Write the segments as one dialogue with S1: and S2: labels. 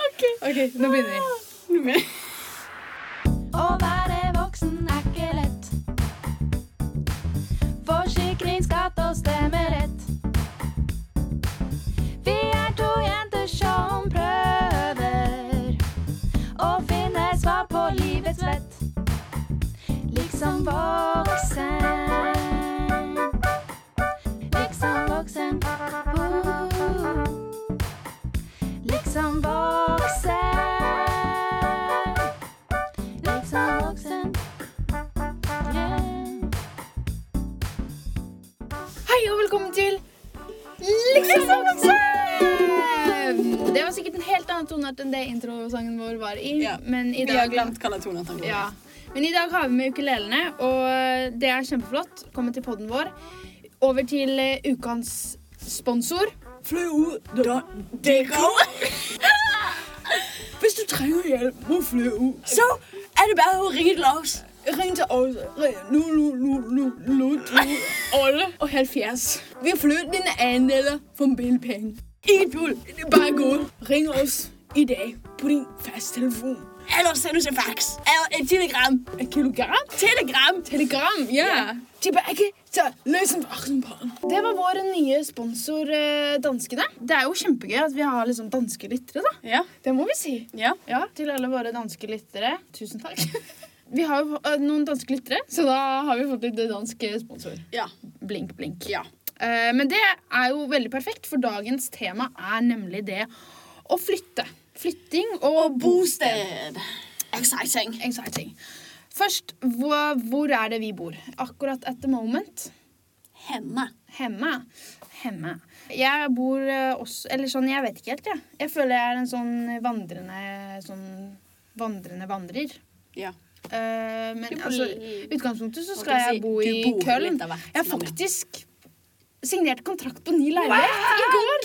S1: OK, nå begynner vi.
S2: Å være voksen er ikke lett. Forsikring, skatt og stemmerett. Vi er to jenter som prøver å finne svar på livets vett. Liksom voksen. Liksom voksen. Uh. Liksom voksen. Liksom voksen. Yeah.
S1: Hei og velkommen til Liksom voksen! Det var sikkert en helt annen toneart enn det introsangen vår var i.
S3: Ja.
S1: Men, i
S3: Vi har
S1: dag,
S3: glemt hva det er tonen går i.
S1: ja. men i dag har vi med ukulelene, og det er kjempeflott. Kommer til podden vår. Over til eh, ukens sponsor.
S3: Fløo.dk. Hvis du trenger hjelp med fløo, så er det bare å ringe til oss.
S1: Ring til oss. Nå, nå, nå, nå, nå, alle og 70. Vi flytter dine andeler for bilpenger.
S3: Ingen tull.
S1: Bare gå. Ring oss i dag på din fasttelefon.
S3: Eller send oss en fax. Eller en telegram.
S1: Et kilogram?
S3: Telegram.
S1: Telegram, ja. Tilbake til Løsen Det var vår nye sponsor, eh, danskene. Det er jo kjempegøy at vi har liksom danske lyttere, da.
S3: Ja.
S1: Det må vi si.
S3: ja.
S1: Ja, til alle våre danske lyttere. Tusen takk. Vi har jo eh, noen danske lyttere, så da har vi fått litt dansk eh, sponsor.
S3: Ja.
S1: Blink, blink.
S3: ja.
S1: Eh, Men det er jo veldig perfekt, for dagens tema er nemlig det å flytte. Flytting og
S3: Bosted. Exciting.
S1: Exciting. Først, hvor, hvor er det vi bor? Akkurat at the moment.
S3: Hemme.
S1: Hemme. Hemme. Jeg bor eh, også Eller sånn, jeg vet ikke helt, jeg. Jeg føler jeg er en sånn vandrende sånn vandrende vandrer.
S3: Ja.
S1: Eh, men
S3: Du bor
S1: altså,
S3: i-
S1: i utgangspunktet så
S3: Hva
S1: skal
S3: kan
S1: jeg
S3: jeg si?
S1: bo
S3: Du
S1: i
S3: bor
S1: Köln.
S3: litt av hvert,
S1: Jeg har
S3: Sonja.
S1: faktisk signert kontrakt på ny leilighet i går.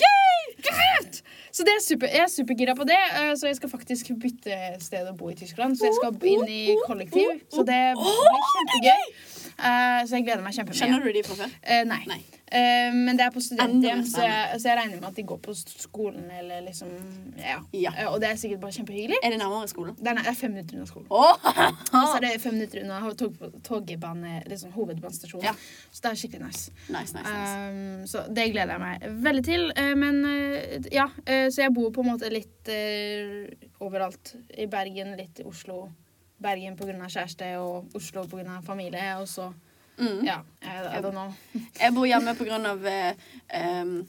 S1: Greit! Så det er super, jeg er supergira på det, eh, så jeg skal faktisk bytte sted å bo i Tyskland. Så jeg
S3: Oh,
S1: skal inn i kollektiv, så det blir kjempegøy. Eh, så jeg gleder meg kjempemye.
S3: Kjenner oh, du de fra før?
S1: Eh, nei.
S3: Nei.
S1: Eh, men det er på studenthjem,
S3: Enda mer
S1: så, jeg- så jeg regner med at de går på skolen eller liksom Ja.
S3: Ja. Eh.
S1: Eh, og det er sikkert bare kjempehyggelig.
S3: Er det nærmere skolen?
S1: Det er, nei, det er fem minutter unna skolen.
S3: Åh! Ah.
S1: Og så er det fem minutter unna ho- tog, togbane, liksom hovedbanestasjonen.
S3: Ja.
S1: Så det er skikkelig nice.
S3: Nice, nice, nice.
S1: Um, så det gleder jeg meg veldig til. eh, Men eh, ja, eh, så jeg bor på en måte litt eh, overalt. I Bergen, litt i Oslo. Bergen pga. kjæreste og Oslo pga. familie. Og så
S3: Mm.
S1: ja, I, I don't know.
S3: Jeg bor hjemme på grunn av eh, em,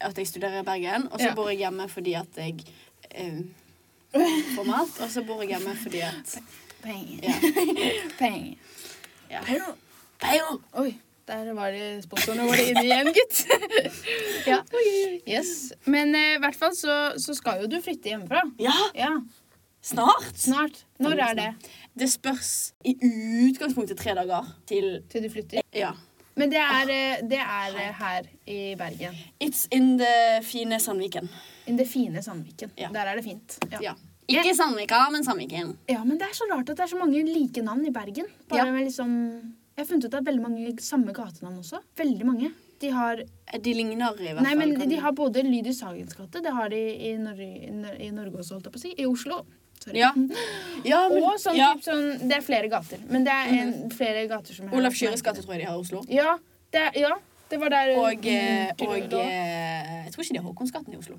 S3: at jeg studerer i Bergen. Og så
S1: Ja.
S3: bor jeg hjemme fordi at jeg um, får mat. Og så bor jeg hjemme fordi at
S1: Penger.
S3: ja.
S1: Penger.
S3: ja. Peio!
S1: Oi, der var det sponsorene våre inne igjen, gutt. ja. Yes. Men eh, i hvert fall så, så skal jo du flytte hjemmefra.
S3: Ja,
S1: Ja,
S3: snart!
S1: snart. Når er det?
S3: Det spørs i utgangspunktet tre dager til
S1: Til du flytter?
S3: Ja.
S1: Men det er, eh, det er eh, her i Bergen.
S3: It's in the fine Sandviken.
S1: I det fine Sandviken.
S3: Ja.
S1: Der er det fint. Ja.
S3: Ja. Ikke Sandvika, men Sandviken.
S1: Ja, men det er så rart at det er så mange like navn i Bergen. Bare
S3: Ja.
S1: med liksom... Jeg har funnet ut at det er veldig mange samme gatenavn også. Veldig mange. De har,
S3: De ligner i hvert fall.
S1: nei, men
S3: kan-
S1: de har både lyd i Sagens gate, det har de i, Norge- i Nor- i Norge også, holdt jeg på å si. I Oslo. Sorry. Mm.
S3: Ja. ja men,
S1: Og sånn,
S3: ja.
S1: typ, sånn Det er flere gater. Men det er en, flere gater som er
S3: Olav Skyres gate tror jeg de har i Oslo.
S1: Ja. Det, er- ja, det var der
S3: Og, eh,
S1: Mm,
S3: og
S1: da.
S3: eh, jeg tror ikke de har Håkonsgaten i Oslo.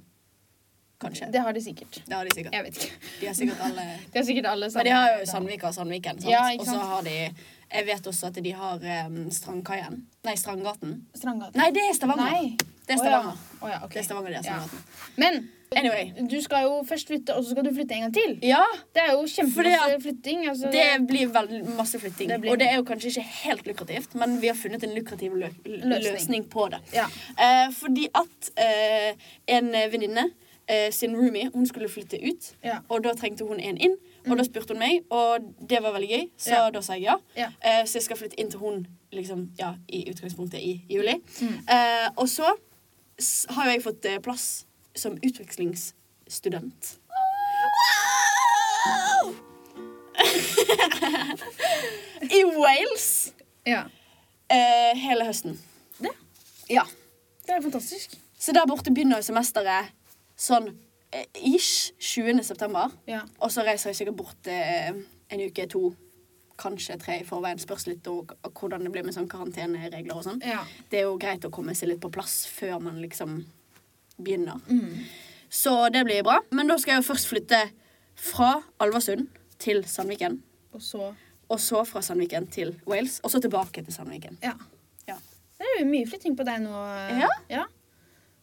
S3: Kanskje.
S1: Det har de sikkert.
S3: Det har de sikkert.
S1: Jeg vet ikke.
S3: De har sikkert alle
S1: De har sikkert alle
S3: Men
S1: sammen.
S3: de har jo Sandvika og Sandviken. Sant?
S1: Ja, ikke
S3: Og så
S1: sant.
S3: har de Jeg vet også at de har em, Strandkaien. Nei, Strandgaten.
S1: Strandgata.
S3: Nei, det er Stavanger.
S1: Nei.
S3: Det er Stavanger.
S1: Å ja, ok.
S3: Det er Stavanger, det er
S1: Ja.
S3: Strandgaten.
S1: Men
S3: Anyway.
S1: du skal jo først flytte, og så skal du flytte en gang til.
S3: Ja,
S1: Det er jo
S3: Fordi
S1: kjempemasse
S3: at
S1: flytting. Altså,
S3: det blir veldig masse flytting.
S1: Det blir-
S3: Og det er jo kanskje ikke helt lukrativt, men vi har funnet en lukrativ lø løsning.
S1: Løsning.
S3: på det.
S1: Ja.
S3: Eh, fordi at eh, en venninne eh, sin roomie, hun skulle flytte ut,
S1: Ja. Mm.
S3: og da trengte hun en inn. Og da spurte hun meg, og det var veldig gøy, så
S1: Ja.
S3: da sa jeg ja.
S1: Ja.
S3: Eh, så jeg skal flytte inn til hun liksom, ja, i utgangspunktet i juli.
S1: Mm.
S3: Eh, og så s- har jo jeg fått eh, plass som utvekslingsstudent. Wow! I Wales
S1: ja.
S3: eh, hele høsten.
S1: Det.
S3: Ja.
S1: Det er fantastisk.
S3: Så der borte begynner jo semesteret sånn eh, ish 20. september.
S1: Ja.
S3: Og så reiser jeg sikkert bort eh, en uke, to, kanskje tre i forveien. Spørs litt og, og hvordan det blir med sånn karanteneregler og sånn.
S1: Ja.
S3: Det er jo greit å komme seg litt på plass før man liksom begynner. Så det blir bra. Men da skal jeg jo først flytte fra Alversund til Sandviken.
S1: Og så
S3: Og så fra Sandviken til Wales, og så tilbake til Sandviken.
S1: Ja.
S3: Ja.
S1: Det er jo mye flytting på deg nå. eh,
S3: Ja.
S1: ja.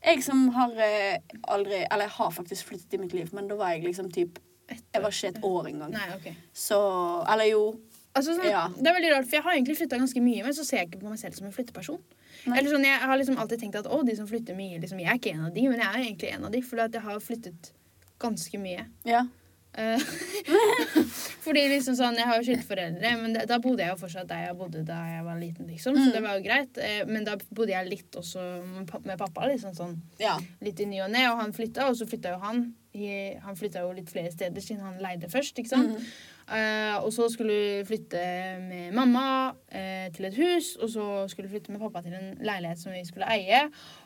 S3: Jeg som har eh, aldri Eller jeg har faktisk flyttet i mitt liv, men da var jeg liksom typ Jeg var ikke et år engang.
S1: Nei, ok.
S3: Så Eller jo.
S1: Altså, sånn,
S3: Ja.
S1: Det er veldig rart, for jeg har egentlig flytta ganske mye, men så ser jeg ikke på meg selv som en flytteperson.
S3: Nei.
S1: Eller sånn, Jeg har liksom alltid tenkt at å, de som flytter mye liksom, Jeg er ikke en av de, men jeg er egentlig en av de, fordi at jeg har flyttet ganske mye.
S3: Ja.
S1: Eh, Fordi liksom sånn, Jeg har jo skilt foreldre, men det, da bodde jeg jo fortsatt der jeg bodde da jeg var liten. liksom, Så
S3: Mm.
S1: det var jo greit. Eh, Men da bodde jeg litt også med pa- med pappa. liksom sånn,
S3: ja.
S1: Litt i ny og ne, og han flytta, og så flytta jo han. I, han flytta jo litt flere steder siden han leide først. ikke sant? Eh, og så skulle vi flytte med mamma eh, til et hus, og så skulle vi flytte med pappa til en leilighet som vi skulle eie.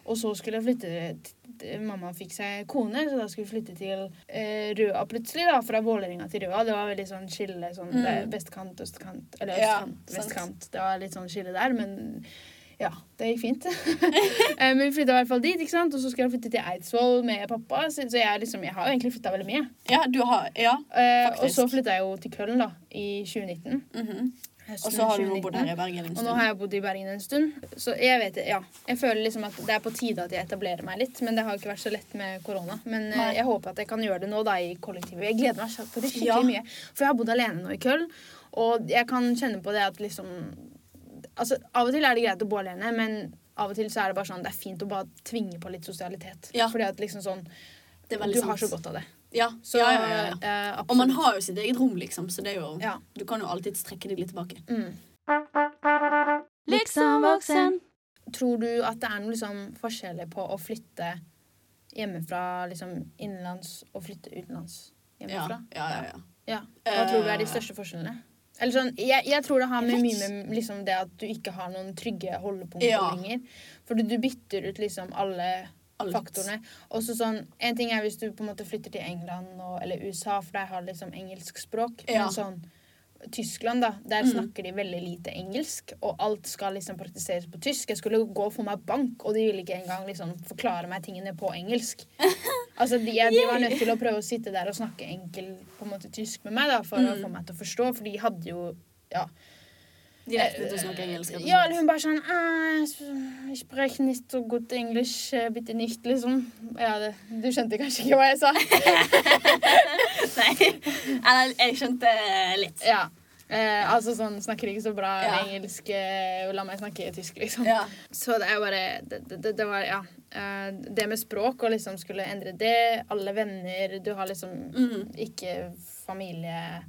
S1: Og så skulle jeg flytte til- til Mamma fikk seg kone, så da skulle vi flytte til eh, Røa plutselig. da, Fra Vålerenga til Røa. Det var veldig sånn skille. sånn,
S3: Mm.
S1: det er Vestkant, østkant Eller
S3: Ja,
S1: østkant,
S3: sant.
S1: vestkant. Det var litt sånn skille der, men ja, det gikk fint. Eh, men vi flytta i hvert fall dit, ikke sant? og så skulle jeg flytte til Eidsvoll med pappa. Så, så jeg, liksom, jeg har jo egentlig flytta veldig mye.
S3: Ja, du har Ja.
S1: Eh, og
S3: Faktisk.
S1: så flytta jeg jo til Køln da, i 2019.
S3: mhm.
S1: Høsten
S3: Og så har du nå
S1: 2019.
S3: bodd her i Bergen en
S1: Og nå
S3: stund.
S1: har jeg bodd i Bergen en stund. Så jeg vet, ja, jeg føler liksom at det er på tide at jeg etablerer meg litt. Men det har ikke vært så lett med korona. Men eh,
S3: Nei.
S1: jeg håper at jeg kan gjøre det nå da i kollektivet. Jeg gleder meg så- for det skikkelig
S3: Ja.
S1: mye. For jeg har bodd alene nå i Köln, og jeg kan kjenne på det at liksom Altså, av og til er det greit å bo alene, men av og til så er det bare sånn, det er fint å bare tvinge på litt sosialitet.
S3: Ja.
S1: Fordi at liksom sånn,
S3: Det
S1: du
S3: er veldig sant.
S1: har så godt av det.
S3: Ja.
S1: Så,
S3: ja, ja, ja, ja.
S1: eh, absolutt.
S3: Og man har jo sitt eget rom, liksom, så det er jo
S1: Ja.
S3: Du kan jo alltid strekke deg litt tilbake.
S1: Mm.
S2: Liksom voksen.
S1: Tror du at det er noen liksom, forskjeller på å flytte hjemmefra liksom, innenlands og flytte utenlands
S3: Ja,
S1: hjemmefra?
S3: ja, ja, ja.
S1: Ja. Hva tror du er de største forskjellene? Eller sånn, jeg, jeg tror det har med
S3: Jeg
S1: mye
S3: vet.
S1: med liksom, det at du ikke har noen trygge holdepunkter
S3: Ja.
S1: lenger. For du bytter ut liksom alle
S3: Alt.
S1: faktorene. Også sånn, en ting er hvis du på en måte flytter til England og, eller USA, for der har de liksom engelsk språk.
S3: Ja.
S1: Men sånn, Tyskland, da, der
S3: Mm.
S1: snakker de veldig lite engelsk, og alt skal liksom praktiseres på tysk. Jeg skulle gå og få meg bank, og de ville ikke engang liksom forklare meg tingene på engelsk. Altså, de, jeg, de var nødt til å prøve å sitte der og snakke enkel på en måte tysk med meg da, for å
S3: Mm.
S1: få meg til å forstå, for de hadde jo ja.
S3: De vet ikke å snakke engelsk. rett og
S1: Ja,
S3: slett.
S1: eller hun bare sånn «Eh, Jeg spreker nicht så godt engelsk, eh, bitte nicht, liksom. Ja, det, du skjønte kanskje ikke hva jeg sa.
S3: Nei. Eller, jeg skjønte litt.
S1: Ja. Eh, altså sånn Snakker ikke så bra
S3: Ja.
S1: engelsk, eh, la meg snakke tysk, liksom.
S3: Ja.
S1: Så det er jo bare det, det- det, det var, ja. Eh, Det med språk og liksom skulle endre det. Alle venner. Du har liksom
S3: Mhm.
S1: ikke familie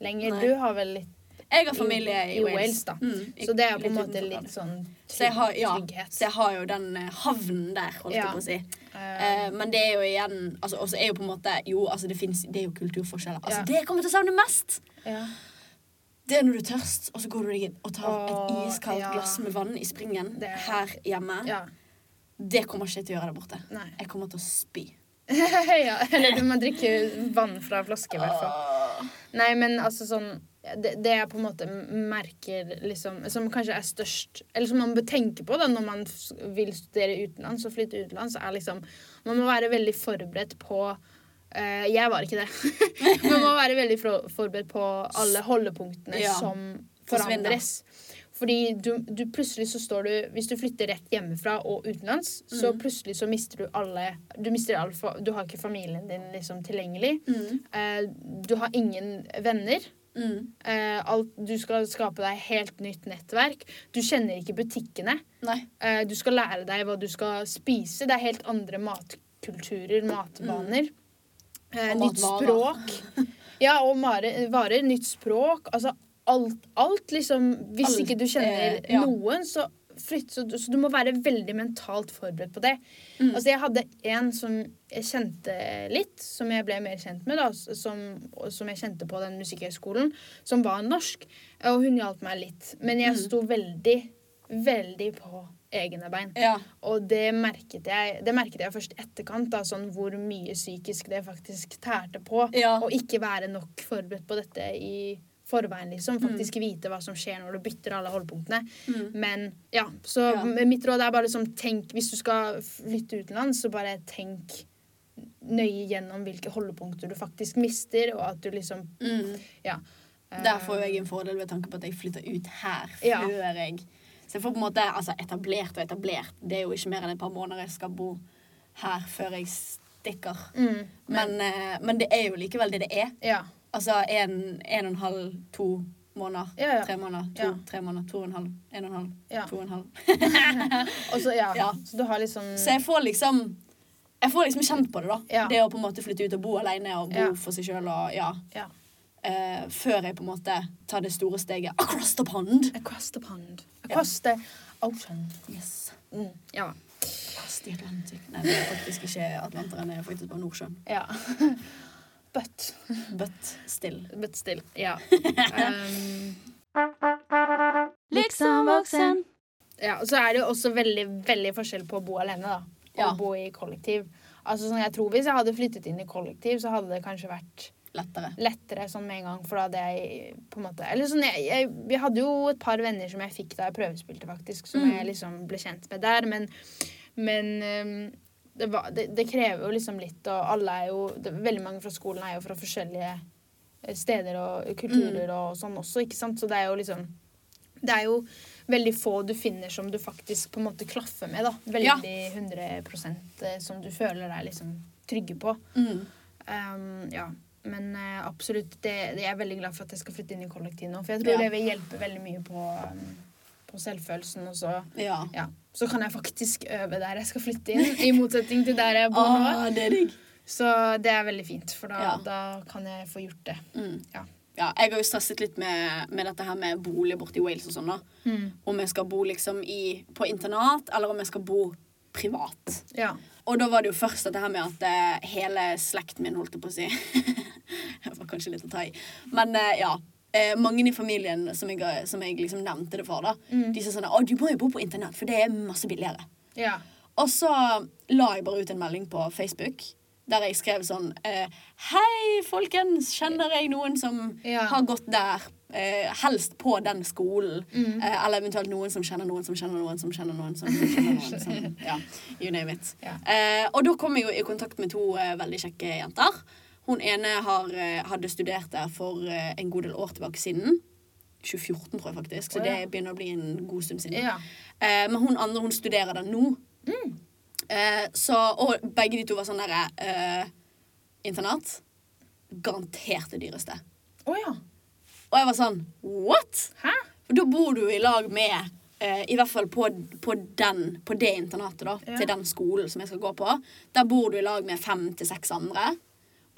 S1: lenger.
S3: Nei.
S1: Du har vel litt
S3: Jeg har familie i,
S1: i Wales, da.
S3: Mm, i-
S1: Så det er på en
S3: litt
S1: måte
S3: utenfor
S1: litt
S3: Bergen.
S1: sånn
S3: så jeg, har, ja,
S1: trygghet.
S3: så jeg har jo den eh, havnen der, holdt jeg
S1: Ja.
S3: på å si.
S1: Eh,
S3: Eh, men det er jo igjen altså, Og så er jo på en måte Jo, altså, det, finnes, det er jo kulturforskjeller. Altså,
S1: Ja.
S3: Det jeg kommer til å savne mest,
S1: ja.
S3: det er når du er tørst, og så går du deg inn og tar et
S1: Åh,
S3: iskaldt
S1: ja.
S3: glass med vann i springen
S1: Det er-
S3: her hjemme.
S1: ja.
S3: Det kommer ikke jeg til å gjøre der borte.
S1: Nei.
S3: Jeg kommer til å spy.
S1: ja. Eller du må drikke vann fra flaske, i hvert fall.
S3: Åh.
S1: Nei, men altså sånn det, det jeg på en måte merker liksom, som kanskje er størst Eller som man bør tenke på da, når man s- vil studere utenlands og flytte utenlands, er liksom Man må være veldig forberedt på eh, Jeg var ikke det. man må være veldig for, forberedt på alle holdepunktene
S3: Ja.
S1: som
S3: Forsvinner.
S1: forandres. Fordi du, du plutselig så står du Hvis du flytter rett hjemmefra og utenlands, så plutselig så mister du alle Du mister all fa Du har ikke familien din liksom tilgjengelig.
S3: Mm.
S1: Eh, du har ingen venner.
S3: Mm.
S1: Eh, alt, du skal skape deg helt nytt nettverk. Du kjenner ikke butikkene.
S3: Nei.
S1: Eh, du skal lære deg hva du skal spise. Det er helt andre matkulturer, matvaner. Eh,
S3: Mm. Og
S1: nytt
S3: matvaner.
S1: språk. Ja, og mare, varer. Nytt språk. Altså alt, alt liksom Hvis
S3: Alt,
S1: ikke du kjenner
S3: eh, ja.
S1: noen, så flytt, så, du- så du må være veldig mentalt forberedt på det.
S3: Mm.
S1: Altså, jeg hadde en som jeg kjente litt, som jeg ble mer kjent med, da, s- som, og som jeg kjente på den musikkhøgskolen, som var norsk, og hun hjalp meg litt. Men jeg sto veldig, veldig på egne bein.
S3: Ja.
S1: Og det merket jeg, det merket jeg først i etterkant, da, sånn hvor mye psykisk det faktisk tærte på.
S3: Ja.
S1: Å ikke være nok forberedt på dette i forveien, liksom. Faktisk
S3: Mm.
S1: vite hva som skjer når du bytter alle holdpunktene. Men ja, så
S3: Ja.
S1: m- mitt råd er bare liksom tenk Hvis du skal flytte utenlands, så bare tenk nøye gjennom hvilke holdepunkter du faktisk mister, og at du liksom
S3: Mm.
S1: Ja.
S3: Der får jo jeg en fordel ved tanke på at jeg flytter ut her
S1: Eh, Ja.
S3: før jeg Så jeg får på en måte altså, etablert og etablert. Det er jo ikke mer enn et par måneder jeg skal bo her før jeg stikker.
S1: Mm,
S3: Men, eh, men det er jo likevel det det er.
S1: ja.
S3: Altså en, en og en halv, to måneder,
S1: Ja, ja.
S3: tre måneder, to,
S1: Ja.
S3: tre måneder, to og en halv, en og en halv,
S1: Ja. Mm.
S3: to og en halv.
S1: Og så, ja.
S3: Ja.
S1: Så du har liksom
S3: Så jeg får liksom jeg får liksom kjent på det, da.
S1: Ja.
S3: Det å på en måte flytte ut og bo alene og bo
S1: Ja.
S3: for seg sjøl og ja.
S1: ja.
S3: Eh, før jeg på en måte tar det store steget across the pond.
S1: Across the pond.
S3: Ja.
S1: Across the ocean.
S3: Yes.
S1: Mm, ja.
S3: Across the Atlantic. Nei, det er faktisk ikke Atlanteren, det er faktisk bare Nordsjøen.
S1: ja. But,
S3: But still.
S1: but still. Ja. Um,
S2: Liksom voksen.
S1: ja. Og så er det jo også veldig, veldig forskjell på å bo alene da. og
S3: Ja.
S1: å bo i kollektiv. Altså sånn, jeg tror Hvis jeg hadde flyttet inn i kollektiv, så hadde det kanskje vært
S3: Lettere.
S1: lettere sånn med en gang. For da hadde jeg på en måte Eller sånn, jeg, jeg, jeg hadde jo et par venner som jeg fikk da jeg prøvespilte, faktisk. Som
S3: Mm.
S1: jeg liksom ble kjent med der. Men, men øhm, det, var, det, det krever jo liksom litt, og alle er jo det, Veldig mange fra skolen er jo fra forskjellige eh, steder og
S3: Mm.
S1: kulturer og sånn også, ikke sant? Så det er jo liksom Det er jo veldig få du finner som du faktisk på en måte klaffer med, da.
S3: Ja.
S1: Veldig 100 eh, som du føler deg liksom trygge på.
S3: Mm.
S1: Ehm, ja. Men eh, absolutt, det, det, jeg er veldig glad for at jeg skal flytte inn i kollektiv nå. For jeg tror
S3: Ja.
S1: det vil hjelpe veldig mye på, ehm, på selvfølelsen. Og så,
S3: Ja.
S1: ja. så kan jeg faktisk øve der jeg skal flytte inn, i motsetning til der jeg bor nå.
S3: Ah, det er digg.
S1: Så det er veldig fint, for da,
S3: Ja.
S1: da kan jeg få gjort det.
S3: Mm.
S1: Ja.
S3: Ja, jeg har jo stresset litt med, med dette her med bolig borte i Wales og sånn. da.
S1: Mm.
S3: Om jeg skal bo liksom i, på internat, eller om jeg skal bo privat.
S1: Ja.
S3: Og da var det jo først dette her med at eh, hele slekten min holdt jeg på å si Det var kanskje litt å ta i. Men eh, ja. eh, mange i familien som jeg, som jeg liksom nevnte det for, da,
S1: Mm.
S3: de sa sånn Å, du må jo bo på internett, for det er masse billigere.
S1: ja.
S3: Og så la jeg bare ut en melding på Facebook der jeg skrev sånn eh, Hei, folkens! Kjenner jeg noen som
S1: Ja.
S3: har gått der? Eh, helst på den skolen.
S1: Mm.
S3: Eh, eller eventuelt noen som kjenner noen som kjenner noen som kjenner noen. som kjenner noen som, ja, You name it.
S1: Ja.
S3: Eh, og da kom jeg jo i kontakt med to eh, veldig kjekke jenter. Hun ene har, eh, hadde studert der for eh, en god del år tilbake siden. 2014, tror jeg faktisk. Så
S1: Å, ja.
S3: det begynner å bli en god stund siden.
S1: ja.
S3: Eh, men hun andre hun studerer den nå. Eh, så, og begge de to var sånn derre eh, Internat. Garantert det dyreste.
S1: Å ja.
S3: Og jeg var sånn What?!
S1: Hæ?
S3: For da bor du i lag med eh, I hvert fall på, på, den, på det internatet, da.
S1: Ja.
S3: Til den skolen som jeg skal gå på. Der bor du i lag med fem til seks andre.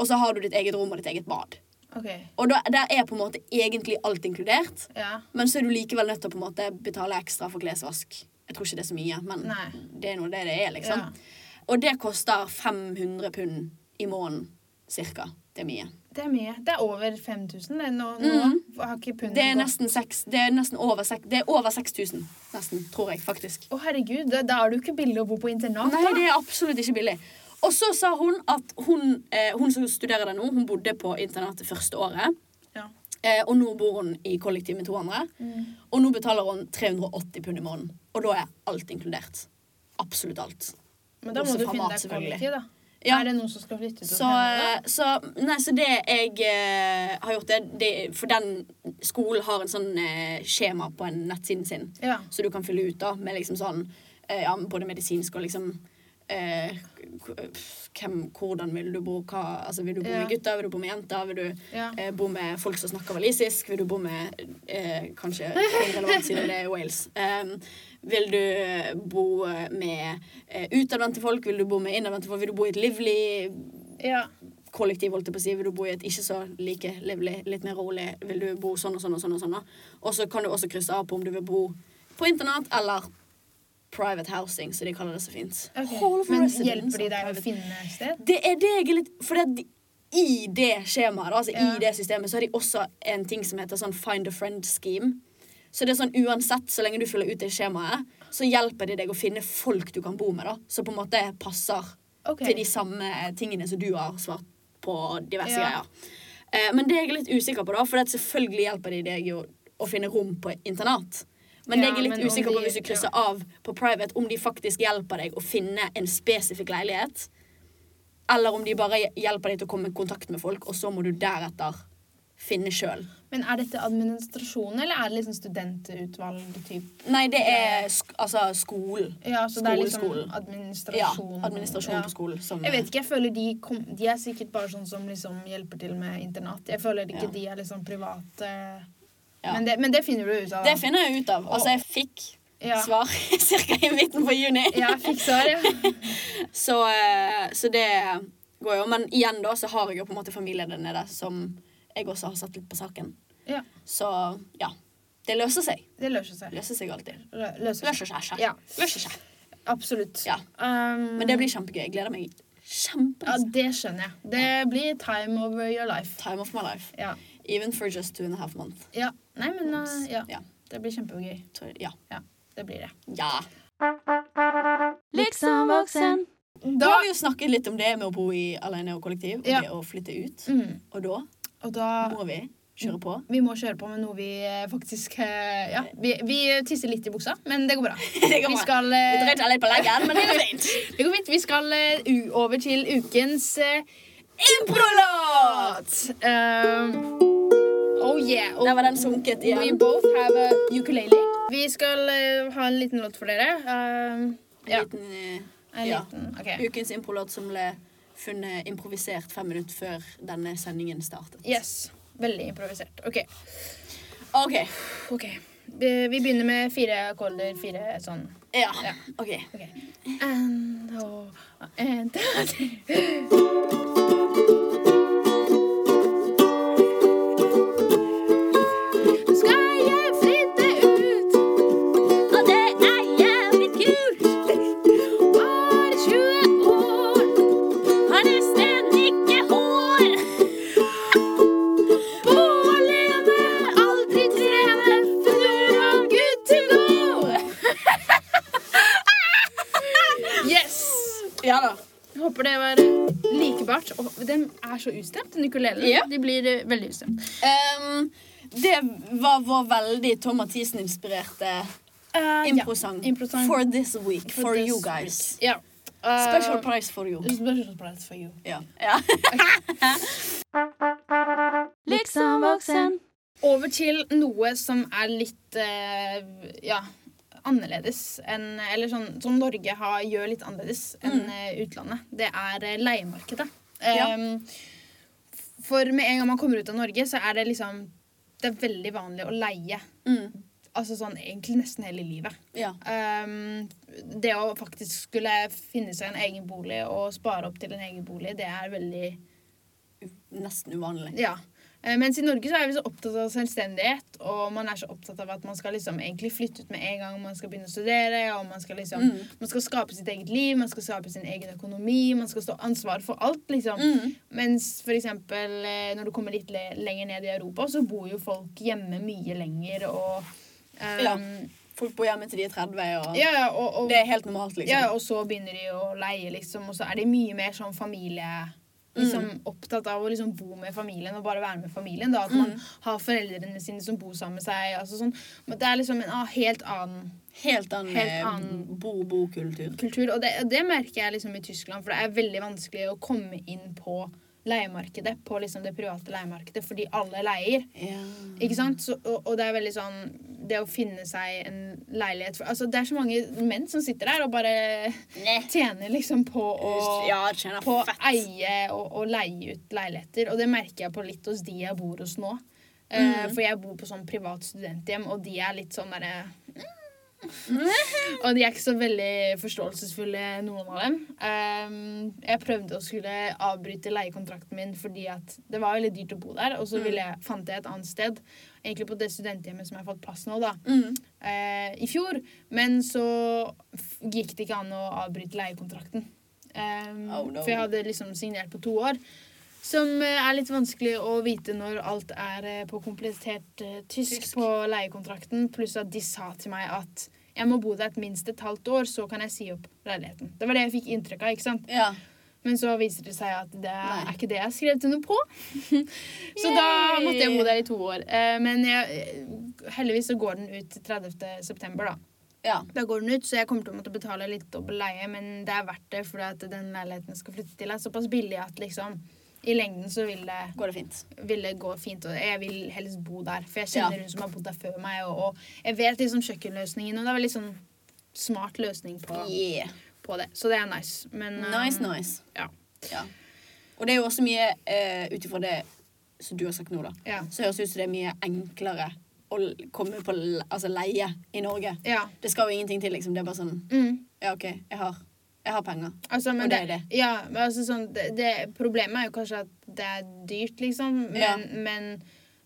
S3: Og så har du ditt eget rom og ditt eget bad.
S1: OK.
S3: Og da, der er på en måte egentlig alt inkludert.
S1: Ja.
S3: Men så er du likevel nødt til å på en måte betale ekstra for klesvask. Jeg tror ikke det er så mye, men
S1: Nei.
S3: det er noe det det er, liksom.
S1: Ja.
S3: Og det koster 500 pund i måneden, cirka. Det er mye.
S1: Det er mye. Det er over 5000 det nå. nå
S3: Mm.
S1: har ikke pundet
S3: Det er
S1: gått-
S3: nesten, seks, det er nesten over, sek, det er over 6000, nesten, tror jeg, faktisk.
S1: Å herregud, da, da er det jo ikke billig å bo på internat.
S3: Nei,
S1: da.
S3: det er absolutt ikke billig. Og så sa hun at hun, eh, hun som studerer der nå, hun bodde på internatet første året.
S1: Ja.
S3: Eh, og nå bor hun i kollektiv med to andre.
S1: Mm.
S3: Og nå betaler hun 380 pund i måneden. Og da er alt inkludert. Absolutt alt.
S1: Men da må
S3: Også
S1: du
S3: fra
S1: finne
S3: mat,
S1: deg
S3: selvfølgelig.
S1: kollektiv, da.
S3: Ja.
S1: Er det noen som skal flytte til
S3: Så, eh, så, nei, så det jeg eh, har gjort, det, det For den skolen har en sånn eh, skjema på en nettsiden sin.
S1: Ja.
S3: Så du kan fylle ut da med liksom sånn eh, ja, både medisinsk og liksom eh, k- hvem, Hvordan vil du bo? Hva, altså, vil du bo
S1: Ja.
S3: med gutter? Vil du bo med jenter? Vil du
S1: Ja.
S3: eh, bo med folk som snakker walisisk? Vil du bo med eh, Kanskje irrelevant siden det er Wales. Um, vil du eh, bo med eh, utadvendte folk? Vil du bo med innadvendte folk? Vil du bo i et livlig
S1: ja.
S3: kollektiv, holdt jeg på å si. Vil du bo i et ikke så like livlig, litt mer rolig? Vil du bo sånn og sånn og sånn? Og sånn da? Og så kan du også krysse av på om du vil bo på internat eller private housing, som de kaller det så fint.
S1: Ok.
S3: Hall of
S1: Men
S3: residence
S1: hjelper de
S3: og
S1: deg å
S3: private-
S1: finne et sted?
S3: Det er det jeg er litt For det at de- i det skjemaet, da, altså
S1: Ja.
S3: i det systemet, så har de også en ting som heter sånn find a friend scheme. Så det er sånn uansett, så lenge du fyller ut det skjemaet, så hjelper det deg å finne folk du kan bo med, da. Som på en måte passer
S1: Ok.
S3: til de samme eh, tingene som du har svart på diverse
S1: Ja.
S3: greier. Eh, men det er jeg litt usikker på, da, for det at selvfølgelig hjelper det deg å, å finne rom på et internat. Men
S1: Ja,
S3: det jeg er
S1: men
S3: litt
S1: om
S3: usikker på
S1: de-
S3: hvis du krysser av på private, om de faktisk hjelper deg å finne en spesifikk leilighet. Eller om de bare hjelper deg til å komme i kontakt med folk, og så må du deretter finne sjøl.
S1: Men er dette administrasjonen, eller er det liksom studentutvalg-typ?
S3: Nei, det er sk altså skolen.
S1: Ja, så det er liksom
S3: Skoleskolen. Ja,
S1: administrasjon.
S3: administrasjon
S1: Ja.
S3: på skolen. Som,
S1: Jeg vet ikke, jeg føler de, kom, de er sikkert bare sånn som liksom hjelper til med internat. Jeg føler ikke
S3: Ja.
S1: de er liksom private.
S3: Ja.
S1: Men, det, men det finner du ut av.
S3: Det finner jeg ut av. Altså, jeg fikk
S1: ja.
S3: svar ca. i midten på juni.
S1: Ja, jeg fikk svar, ja.
S3: Så, eh, så det går jo. Men igjen da, så har jeg jo på en måte familie der nede som jeg også har satt litt på saken.
S1: ja.
S3: Så ja. Det løser seg.
S1: Det løser seg.
S3: Det løser seg alltid.
S1: Lø- Løser seg.
S3: Løser seg. seg.
S1: Ja.
S3: Løser seg.
S1: Absolutt.
S3: Ja.
S1: Um,
S3: Men det blir kjempegøy. Jeg gleder meg
S1: Ja,
S3: kjempe.
S1: det skjønner jeg. Det blir time over your life.
S3: Time of my life.
S1: Ja.
S3: Even for just two and a half month.
S1: ja. Nei, men uh, ja.
S3: Ja.
S1: Det blir kjempegøy.
S3: tror jeg- Ja.
S1: Ja, det blir det.
S3: ja.
S2: Liksom voksen.
S3: Da
S1: Da
S3: har vi jo snakket litt om det med å bo i alene og kollektiv, og
S1: Ja.
S3: det å flytte ut.
S1: mm,
S3: Og da
S1: Og da
S3: må vi kjøre på.
S1: Vi må kjøre på med noe vi eh, faktisk eh, Ja, vi, vi tisser litt i buksa, men det går bra.
S3: Det
S1: Vi
S3: kommer.
S1: skal
S3: Vi
S1: eh,
S3: dreit litt på leggen, men det går fint.
S1: Det går fint. Vi skal eh, u- over til ukens eh, improlåt. Eh, oh yeah. Og
S3: Der var den sunket
S1: we
S3: igjen.
S1: both have a ukulele. Vi skal eh, ha en liten låt for dere. Eh, ja.
S3: En liten, eh,
S1: En
S3: ja.
S1: liten, ok.
S3: Ukens improlåt som ble funnet improvisert fem minutter før denne sendingen startet.
S1: Yes. Veldig improvisert. OK.
S3: OK.
S1: ok. Vi vi begynner med fire akkorder, fire sånn.
S3: Ja.
S1: Ja.
S3: OK.
S1: Ok. And, oh, and, Skal jeg flytte ut?
S2: Og det er jævlig kult.
S1: Bare 20 år.
S2: Har nesten ikke hår.
S1: Bo alene, aldri trene, for nå var good to go. Yes!
S3: Ja da.
S1: Jeg håper det var likebart. Og den er så ustemt, den ukulelen.
S3: Ja.
S1: De blir eh, veldig ustemt.
S3: Ehm, det var vår veldig Tom Mathisen-inspirerte
S1: Eh, ja.
S3: improsang
S1: Improsang.
S3: for this week. For,
S1: this
S3: you guys.
S1: Ja. Eh,
S3: Special price for you.
S1: special prize for you.
S3: Ja. ja.
S2: Liksom voksen.
S1: Over til noe som er litt eh, ja, annerledes enn Eller sånn som Norge har, gjør litt annerledes enn eh, utlandet. Det er eh, leiemarkedet.
S3: Mm. Ja.
S1: Ehm, for med en gang man kommer ut av Norge, så er det liksom Det er veldig vanlig å leie.
S3: Mm.
S1: Altså sånn egentlig nesten hele livet.
S3: ja.
S1: Ehm, det å faktisk skulle finne seg en egen bolig og spare opp til en egen bolig, det er veldig
S3: Nesten uvanlig.
S1: Ja. Eh, Mens i Norge så er vi så opptatt av selvstendighet, og man er så opptatt av at man skal liksom egentlig flytte ut med en gang man skal begynne å studere, og man skal liksom
S3: Mm.
S1: Man skal skape sitt eget liv, man skal skape sin egen økonomi, man skal stå ansvar for alt, liksom.
S3: Mm.
S1: Mens for eksempel eh, når du kommer litt le lenger ned i Europa, så bor jo folk hjemme mye lenger og eh,
S3: Ja. Folk bor hjemme til de er 30, og
S1: ja, ja, og, og
S3: det er helt normalt, liksom.
S1: ja, og så begynner de å leie, liksom, og så er de mye mer sånn familie liksom, Opptatt av å liksom bo med familien og bare være med familien. Da. At man har foreldrene sine som bor sammen med seg. Altså sånn. Men det er liksom en ah, helt annen
S3: Helt annen,
S1: Helt
S3: eh,
S1: annen-
S3: bo-bo-kultur.
S1: kultur. Og det, det merker jeg liksom i Tyskland, for det er veldig vanskelig å komme inn på leiemarkedet, på liksom det private leiemarkedet, fordi alle leier.
S3: Ja.
S1: Ikke sant? Så, og, og det er veldig sånn Det å finne seg en leilighet for, altså, Det er så mange menn som sitter der og bare tjener liksom på å
S3: ja, tjener
S1: på å
S3: fett.
S1: eie og, og leie ut leiligheter. Og det merker jeg på litt hos de jeg bor hos nå. Eh,
S3: Mm.
S1: for jeg bor på sånn privat studenthjem, og de er litt sånn derre mm. Og de er ikke så veldig forståelsesfulle, noen av dem. Eh, jeg prøvde å skulle avbryte leiekontrakten min fordi at det var veldig dyrt å bo der, og
S3: Mm.
S1: så ville jeg, fant jeg et annet sted. Egentlig på det studenthjemmet som jeg har fått plass nå, da
S3: Mm.
S1: eh, i fjor. Men så f- gikk det ikke an å avbryte leiekontrakten. Ehm,
S3: Oh, no.
S1: For jeg hadde liksom signert på to år. Som eh, er litt vanskelig å vite når alt er eh, på komplettert eh, tysk,
S3: Tysk.
S1: på leiekontrakten. Pluss at de sa til meg at jeg må bo der et minst et halvt år, så kan jeg si opp leiligheten. Det var det jeg fikk inntrykk av. ikke sant?
S3: Ja.
S1: Men så viser det seg at det
S3: Nei.
S1: er ikke det jeg skrev under på. så da
S3: Yay!
S1: måtte jeg bo der i to år. Eh, Men jeg, heldigvis så går den ut 30. september, da.
S3: ja.
S1: Da går den ut, så jeg kommer til å måtte betale litt dobbel leie, men det er verdt det, fordi at den leiligheten jeg skal flytte til, er såpass billig at liksom i lengden så vil det
S3: Går det fint?
S1: vil det gå fint. Og jeg vil helst bo der, for jeg
S3: Ja.
S1: kjenner hun som har bodd der før meg. Og, og jeg vet liksom kjøkkenløsningen, og det er veldig sånn smart løsning på,
S3: Yeah.
S1: på det. Så det er nice. Men eh,
S3: Nice, nice.
S1: Ja.
S3: Ja. Og det er jo også mye, uh, ut ifra det som du har sagt nå, da,
S1: Ja.
S3: så høres det ut som det er mye enklere å l- komme på l- altså leie i Norge.
S1: ja.
S3: Det skal jo ingenting til, liksom. Det er bare sånn
S1: Mm.
S3: Ja, OK, jeg har, jeg har penger.
S1: Altså, men
S3: Og det er det.
S1: Ja, men altså sånn, det, det, problemet er jo kanskje at det er dyrt, liksom. Men,
S3: Ja.
S1: men,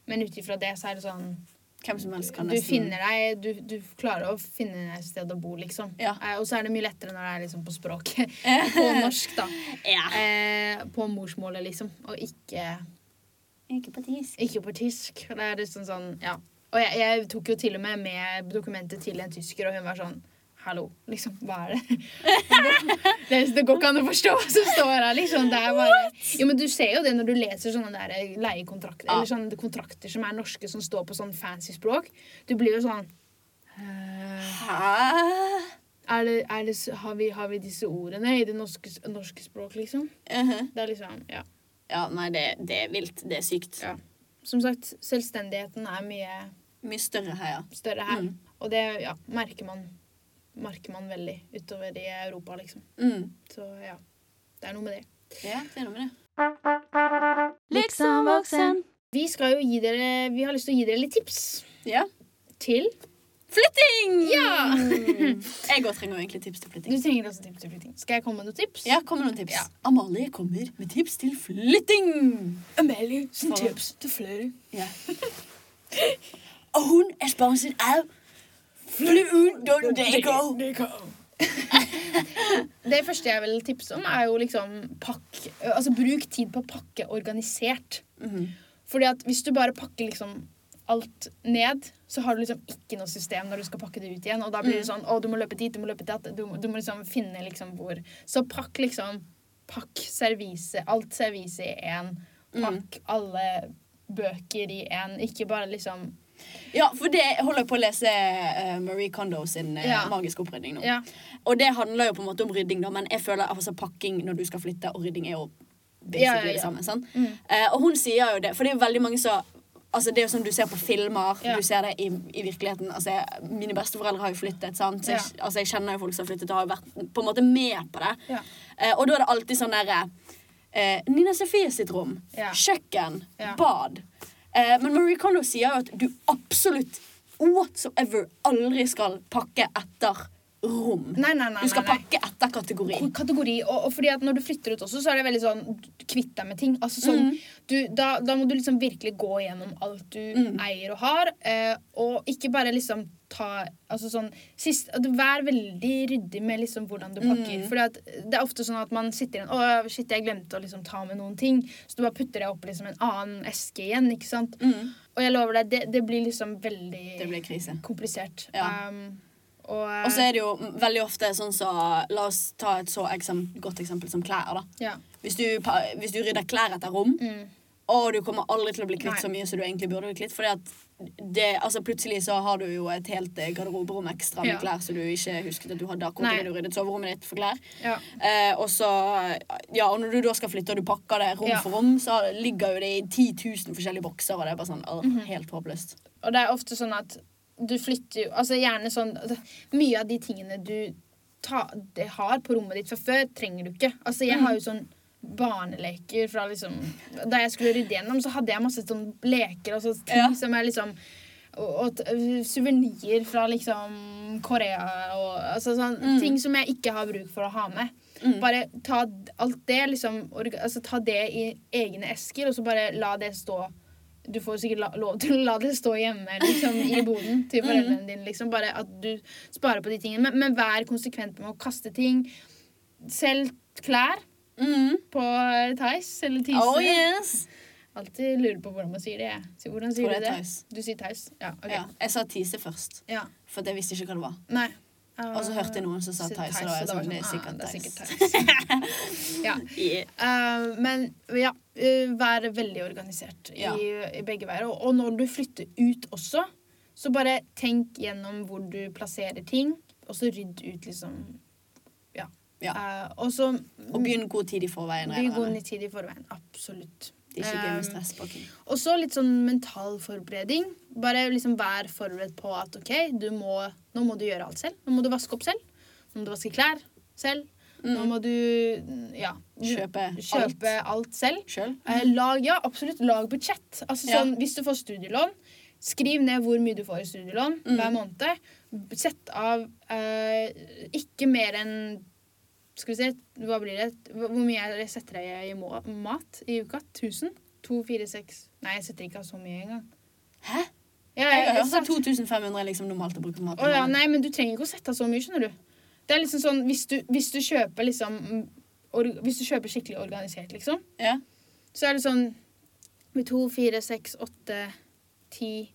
S1: men ut ifra det så er det sånn
S3: Hvem som helst kan
S1: Du finner deg Du, du klarer å finne et sted å bo, liksom.
S3: Ja.
S1: Eh, Og så er det mye lettere når det er liksom på språket.
S3: Eh,
S1: på norsk, da.
S3: ja.
S1: Eh, på morsmålet, liksom. Og ikke
S3: Ikke på tisk.
S1: Ikke på tysk. Det er liksom sånn, ja. Og jeg, jeg tok jo til og med med dokumentet til en tysker, og hun var sånn Hallo, liksom, hva er det? Det, det går ikke an å forstå hva som står her, liksom. Det er bare Jo, men du ser jo det når du leser sånne der eh, leiekontrakter,
S3: Ja.
S1: eller sånne kontrakter som er norske, som står på sånn fancy språk. Du blir jo sånn «Eh,
S3: Hæ?
S1: er det, er det, s- har, vi, har vi disse ordene i det norske, s- norske språk, liksom?
S3: Mhm.
S1: Det er liksom Ja.
S3: Ja, nei, det, det er vilt. Det er sykt.
S1: ja. Som sagt, selvstendigheten er mye
S3: Mye større her, ja.
S1: større her.
S3: Mm.
S1: Og det ja, merker, man, merker man veldig utover i Europa, liksom.
S3: Mm.
S1: Så ja, det er noe med det.
S3: Ja, det er noe med det.
S2: Liksom voksen.
S1: Vi, skal jo gi dere, vi har lyst til å gi dere litt tips
S3: Ja.
S1: til
S3: Flytting!
S1: Ja!
S3: jeg òg trenger jo egentlig tips til
S1: Du
S3: flytting.
S1: trenger også tips til flytting. Skal jeg komme med noen tips?
S3: Ja, kom med noen tips.
S1: Ja.
S3: Amalie kommer med tips til flytting!
S1: Amelie
S3: sin tips
S1: til flere.
S3: Ja. Og hun er sponset av flyun.dk.
S1: Det første jeg vil tipse om, er jo liksom pakk Altså bruk tid på å pakke organisert.
S3: Mhm.
S1: Fordi at hvis du bare pakker liksom alt ned, så har du liksom ikke noe system når du skal pakke det ut igjen. Og da blir det
S3: Mm.
S1: sånn å, du må løpe dit, du må løpe dit, du, må- du må liksom finne liksom hvor. Så pakk liksom Pakk servise, alt servise i én.
S3: Mm.
S1: Pakk alle bøker i én. Ikke bare liksom
S3: Ja, for det jeg holder på å lese eh, Marie Kondo sin eh,
S1: Ja.
S3: magiske opprydning nå.
S1: Ja.
S3: Og det handler jo på en måte om rydding, da, men jeg føler altså pakking når du skal flytte, og rydding er jo basically
S1: Ja, ja, ja.
S3: det samme. sant?
S1: Mm.
S3: Eh, og hun sier jo det, for det er jo veldig mange som Altså Det er jo som du ser på filmer,
S1: Ja.
S3: du ser det i, i virkeligheten. Altså jeg, Mine besteforeldre har jo flyttet, sant? Så jeg, altså jeg kjenner jo folk som har flyttet og har jo vært på en måte med på det.
S1: Ja.
S3: Eh, og da er det alltid sånn derre eh, Nina Sofie sitt rom,
S1: Ja.
S3: kjøkken,
S1: Ja.
S3: bad. Eh, men Marie Kondo sier jo at du absolutt whatsoever aldri skal pakke etter rom.
S1: Nei, nei, nei.
S3: Du skal
S1: nei, nei.
S3: pakke etter kategori.
S1: kategori. Og, og fordi at når du flytter ut også, så er det veldig sånn du kvitt deg med ting. Altså sånn,
S3: Mm.
S1: du, da, da må du liksom virkelig gå gjennom alt du
S3: Mm.
S1: eier og har, eh, og ikke bare liksom ta altså sånn, sist, at du Vær veldig ryddig med liksom hvordan du pakker.
S3: Mm.
S1: Fordi at det er ofte sånn at man sitter igjen Å, shit, jeg glemte å liksom ta med noen ting. Så du bare putter det opp liksom en annen eske igjen. ikke sant? Og jeg lover deg, det, det blir liksom veldig
S3: Mm. Det blir krise.
S1: komplisert.
S3: Ja.
S1: Um, og,
S3: Og så er det jo veldig ofte sånn så La oss ta et så eksem, godt eksempel som klær. da
S1: ja.
S3: Hvis du, pa- hvis du rydder klær etter rom,
S1: Mm.
S3: og du kommer aldri til å bli kvitt
S1: Nei.
S3: så mye som du egentlig burde bli kvitt. Fordi at det, altså plutselig så har du jo et helt eh, garderoberom ekstra med
S1: Ja.
S3: klær som du ikke husket at du hadde akkurat
S1: Nei.
S3: idet du ryddet soverommet ditt for klær.
S1: ja.
S3: Eh, og så, ja, og når du da skal flytte og du pakker det rom
S1: Ja.
S3: for rom, så ligger jo det i 10 000 forskjellige bokser, og det er bare sånn åh,
S1: Mhm.
S3: helt håpløst.
S1: Og det er ofte sånn at du flytter jo Altså gjerne sånn det- Mye av de tingene du ta, det har på rommet ditt fra før, trenger du ikke. Altså jeg har jo sånn barneleker fra liksom Da jeg skulle rydde gjennom, så hadde jeg masse sånn leker og sånne ting
S3: Ja.
S1: som er liksom og, og t- suvenirer fra liksom Korea og altså sånn Ting som jeg ikke har bruk for å ha med. Bare ta d- alt det liksom orga- altså, Ta det i egne esker, og så bare la det stå du får sikkert la, lov til å la det stå hjemme liksom, i boden til foreldrene dine. Liksom, bare at du sparer på de tingene. Men, men vær konsekvent med å kaste ting.
S3: Mm.
S1: Selg klær på Theis eller Tise.
S3: Oh yes!
S1: Alltid lurer på hvordan man sier det. jeg. Så Hvordan sier du
S3: Tror det
S1: det?
S3: er Theis.
S1: Du sier Theis? Ja. ok.
S3: Ja, jeg sa Tise først,
S1: Ja.
S3: for jeg visste ikke hva det var.
S1: Nei.
S3: Og så hørte jeg noen som sa Theis, og da var jeg sånn, det er sikkert Theis.
S1: Theis. ja. Eh, men ja, eh, vær veldig organisert i,
S3: Ja.
S1: i begge veier. Og, og når du flytter ut også, så bare tenk gjennom hvor du plasserer ting, og så rydd ut, liksom. Ja. Eh, og så
S3: Og begynn god tid i forveien.
S1: bli
S3: regner jeg
S1: god
S3: med.
S1: i tid i forveien. Absolutt.
S3: Det er ikke gøy med
S1: Um,
S3: stress på ting.
S1: Og så litt sånn mental forberedning. Bare liksom vær forberedt på at ok, du må, nå må du gjøre alt selv. Nå må du vaske opp selv. Nå må du vaske klær selv. Nå må du ja,
S3: Mm. Kjøpe alt
S1: kjøpe alt, selv.
S3: sjøl.
S1: Eh, Lag, ja, absolutt. Lag budsjett. Altså,
S3: Ja.
S1: sånn, hvis du får studielån, skriv ned hvor mye du får i studielån
S3: Mm.
S1: hver måned. Sett av eh, ikke mer enn Skal vi se, hva blir det? Hvor hvor mye er det jeg setter jeg i må mat i uka? 1000? 2, 4, 6 Nei, jeg setter ikke av så mye engang.
S3: Hæ?
S1: Ja,
S3: Jeg har
S1: jeg-
S3: hørt at 2500 er liksom normalt å bruke på mat.
S1: Å ja, nei, men du trenger ikke å sette av så mye, skjønner du. Det er liksom sånn, Hvis du, hvis du kjøper liksom mm, or, Hvis du kjøper skikkelig organisert, liksom,
S3: Ja.
S1: så er det sånn med to, fire, seks, åtte, ti,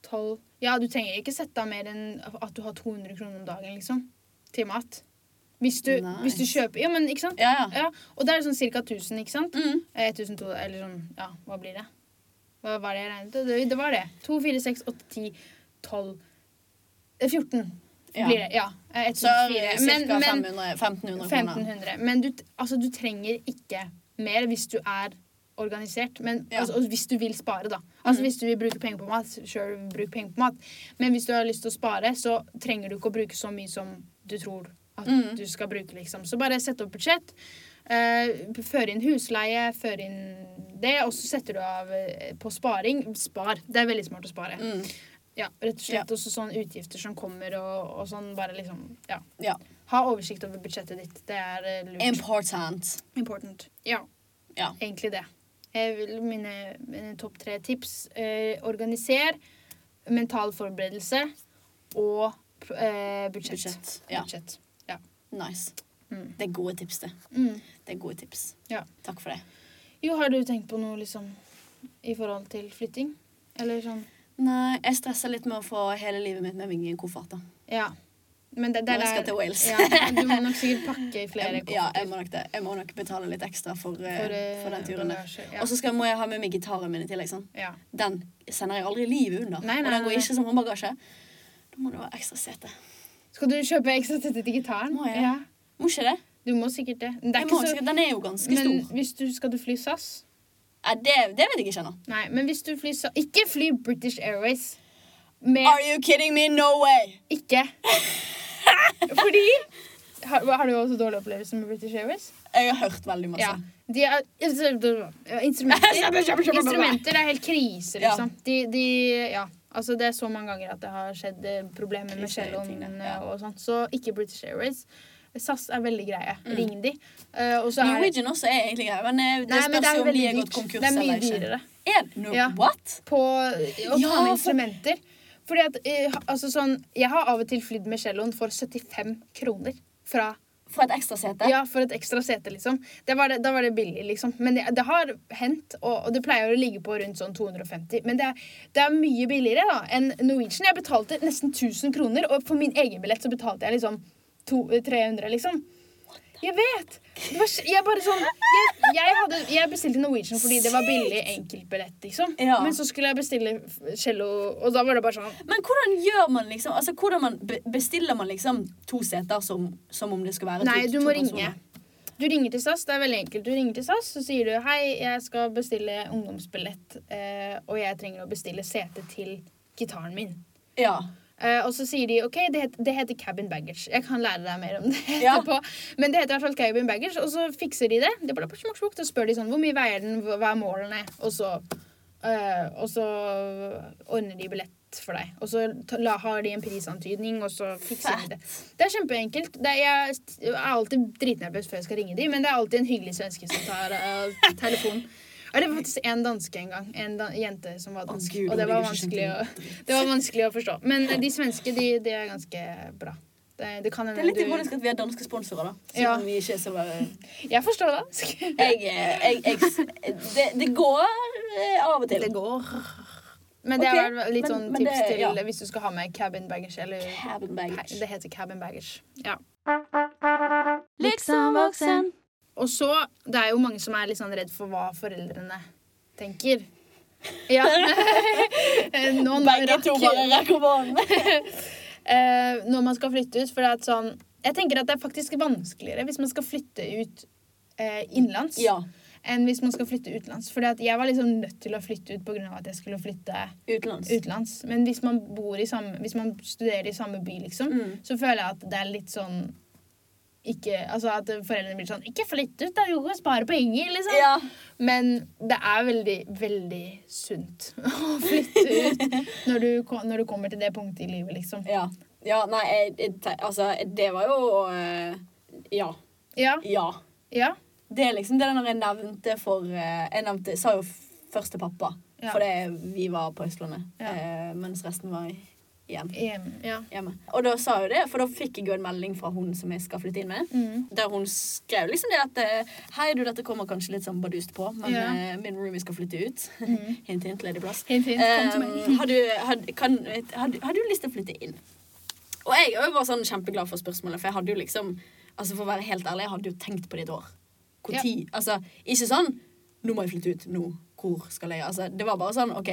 S1: tolv Ja, du trenger ikke sette av mer enn at du har 200 kroner om dagen, liksom, til mat. Hvis du, hvis du
S3: Nice.
S1: kjøper Ja, men ikke sant?
S3: Ja, ja.
S1: Ja, og da er det sånn ca. 1000, ikke sant?
S3: Mm.
S1: Eh, 1200, eller sånn Ja, hva blir det? Hva var det jeg regnet ut? Det, det var det. 2, 4, 6, 8, 10, 12 eh, 14
S3: Ja.
S1: blir det. Ja. eh,
S3: Så er
S1: 1400.
S3: det
S1: Men,
S3: cirka
S1: men
S3: 500 1500 kroner.
S1: 1500. Men du, t- altså, du trenger ikke mer hvis du er organisert. Men,
S3: Ja.
S1: altså, og hvis du vil spare, da. Altså,
S3: Mhm.
S1: Hvis du vil bruke penger på mat, sure, bruk penger på mat. Men hvis du har lyst til å spare, så trenger du ikke å bruke så mye som du tror at
S3: Mhm.
S1: du skal bruke. liksom. Så bare sett opp budsjett. eh, føre inn husleie, føre inn det, og så setter du av eh, på sparing. Spar. Det er veldig smart å spare.
S3: Mm.
S1: Ja, rett og slett også sånne utgifter som kommer, og, og sånn bare liksom Ja.
S3: Ja.
S1: Ha oversikt over budsjettet ditt. Det er eh, lurt.
S3: Important.
S1: Important. Ja.
S3: Ja.
S1: Egentlig det. Jeg vil, mine mine topp tre tips eh, organiser, mental forberedelse og eh, budsjett.
S3: Budsjett. Ja.
S1: Budsjett.
S3: Nice.
S1: Mm.
S3: Det er gode tips, det.
S1: Mm.
S3: Det er gode tips.
S1: Ja.
S3: Takk for det.
S1: Jo, har du tenkt på noe liksom i forhold til flytting? Eller sånn
S3: Nei, jeg stresser litt med å få hele livet mitt med meg i en koffert. da.
S1: Ja. Men det, det
S3: Når
S1: er
S3: jeg skal til Wales.
S1: Ja, du må nok sikkert pakke i flere
S3: Jeg- Ja, jeg må nok det. Jeg må nok betale litt ekstra for, eh,
S1: for, eh,
S3: for den turen der.
S1: bagasje. Ja.
S3: Og så skal- må jeg ha med meg gitaren min i tillegg. sant?
S1: ja.
S3: Den sender jeg aldri livet under.
S1: Nei, nei,
S3: og den går
S1: nei,
S3: ikke som håndbagasje. Da må det være ekstra sete.
S1: Skal du kjøpe ekstra tette til gitaren?
S3: Må jeg? Må ikke det?
S1: Du må sikkert det. Men det
S3: Jeg
S1: er
S3: må,
S1: ikke så
S3: ikke- Den er jo ganske
S1: Men
S3: stor.
S1: hvis du skal du fly SAS
S3: Ja, det, det vet jeg ikke ennå.
S1: Nei, men hvis du flyr SAS Ikke fly British Airways. Med
S3: Are you kidding me? No way!
S1: ikke. Fordi har, har du også dårlig opplevelse med British Airways?
S3: Jeg har hørt veldig masse.
S1: Ja. De er, altså, instrumenter, instrumenter er helt krise,
S3: Ja.
S1: liksom. De, de, ja. altså, det er så mange ganger at det har skjedd eh, problemer med
S3: Krise i
S1: celloen eh,
S3: tingene, ja.
S1: og sånt. Så ikke British Airways. SAS er veldig greie.
S3: Mm.
S1: Ring de. Eh, og så er det
S3: Norwegian også er egentlig grei, men eh, det
S1: Nei, men
S3: spørs
S1: det er
S3: jo om de
S1: veldig
S3: er gått
S1: dyrt.
S3: konkurs
S1: Det er mye
S3: eller ikke.
S1: dyrere.
S3: Er det no,
S1: Ja.
S3: What?
S1: på å ta
S3: Ja, for-
S1: med instrumenter. Fordi at, eh, ha- altså sånn, jeg har av og til flydd med celloen for 75 kroner. Fra,
S3: For et ekstra sete?
S1: ja, for et ekstra sete, liksom. Det var det, da var det billig, liksom. Men det, det har hendt, og, og det pleier å ligge på rundt sånn 250. Men det er, det er mye billigere da, enn Norwegian. Jeg betalte nesten 1000 kroner, og for min egen billett så betalte jeg liksom to, 300, liksom. Jeg vet! Det var, s- jeg bare sånn jeg, jeg, hadde, jeg bestilte Norwegian fordi det var billig enkeltbillett, liksom.
S3: Ja.
S1: Men så skulle jeg bestille f- cello, og da var det bare sånn
S3: Men hvordan gjør man liksom Altså, hvordan man be bestiller man liksom to seter som, som om det skal være
S1: Nei,
S3: to,
S1: du
S3: to
S1: må ringe.
S3: personer?
S1: Du ringer til SAS. Det er veldig enkelt. Du ringer til SAS, så sier du hei, jeg skal bestille ungdomsbillett, eh, og jeg trenger å bestille sete til gitaren min.
S3: Ja.
S1: Eh, og så sier de ok, det, het, det heter cabin baggage. Jeg kan lære deg mer om det
S3: Ja.
S1: etterpå. Men det heter i hvert fall cabin baggage, og så fikser de det. det er bare smukk, smukk, så spør de sånn hvor mye veier den, hva hva er målene, og så, eh, og så ordner de billett for deg. Og så ta- la, har de en prisantydning, og så fikser de det. Det er kjempeenkelt. Det er, jeg st- er alltid dritnervøs før jeg skal ringe de, men det er alltid en hyggelig svenske som tar eh, telefonen. Ja, Det var faktisk en danske en gang. En dan jente som var dansk.
S3: Gud,
S1: og det
S3: jeg
S1: var
S3: skjønte
S1: vanskelig å det var vanskelig å forstå. Men eh, de svenske de, de er ganske bra. Det, det kan
S3: Det er
S1: hende
S3: litt
S1: du
S3: ironisk at vi har danske sponsorer, da. Siden
S1: Ja.
S3: vi ikke er så bare
S1: Jeg forstår det.
S3: jeg, eh, jeg, jeg, det, det går eh, av og til.
S1: Det går. Men det
S3: Ok,
S1: er vel litt
S3: men-
S1: sånn
S3: men
S1: tips
S3: det-
S1: til
S3: ja.
S1: hvis du skal ha med cabin baggage. Eller
S3: Cabin baggage.
S1: Det heter cabin baggage. Ja.
S2: Liksom voksen.
S1: Og så, det er jo mange som er litt sånn redd for hva foreldrene tenker. Ja. Nå når,
S3: Begge to bare
S1: rakk,
S3: rekker opp hånden.
S1: eh, når man skal flytte ut, for det er et sånn Jeg tenker at det er faktisk vanskeligere hvis man skal flytte ut eh, innenlands
S3: Ja.
S1: enn hvis man skal flytte utenlands. For jeg var liksom nødt til å flytte ut pga. at jeg skulle flytte
S3: Utenlands.
S1: utenlands. Men hvis man, bor i samme, hvis man studerer i samme by, liksom,
S3: Mm.
S1: så føler jeg at det er litt sånn ikke, altså At foreldrene blir sånn 'Ikke flytt ut, da! Du kan spare penger!' liksom.
S3: Ja.
S1: Men det er veldig, veldig sunt å flytte ut når du, ko- når du kommer til det punktet i livet, liksom.
S3: ja. Ja, nei, jeg, jeg, te- altså, det var jo eh, Ja.
S1: Ja.
S3: Ja.
S1: Ja.
S3: Det er liksom det når jeg nevnte for eh, Jeg nevnte, sa jo f- først til pappa,
S1: Ja.
S3: for det, vi var på Østlandet,
S1: Ja.
S3: eh, mens resten var i- hjem,
S1: Em, ja.
S3: hjemme. Og da sa jo det, for da fikk jeg jo en melding fra hun som jeg skal flytte inn med.
S1: Mm.
S3: Der hun skrev liksom det at eh, Hei, du, dette kommer kanskje litt sånn bardust på, men
S1: Ja.
S3: eh, min roomie skal flytte ut.
S1: Mm.
S3: hint, hint, ledig plass.
S1: Hint, hint. Kom til
S3: Eh,
S1: meg.
S3: har, du, har, kan, har, du- har du lyst til å flytte inn? Og jeg er jo bare sånn kjempeglad for spørsmålet, for jeg hadde jo liksom Altså For å være helt ærlig, jeg hadde jo tenkt på det et år. Hvor
S1: Ja.
S3: tid, Altså, ikke sånn Nå må jeg flytte ut. Nå. Hvor skal jeg Altså, Det var bare sånn OK,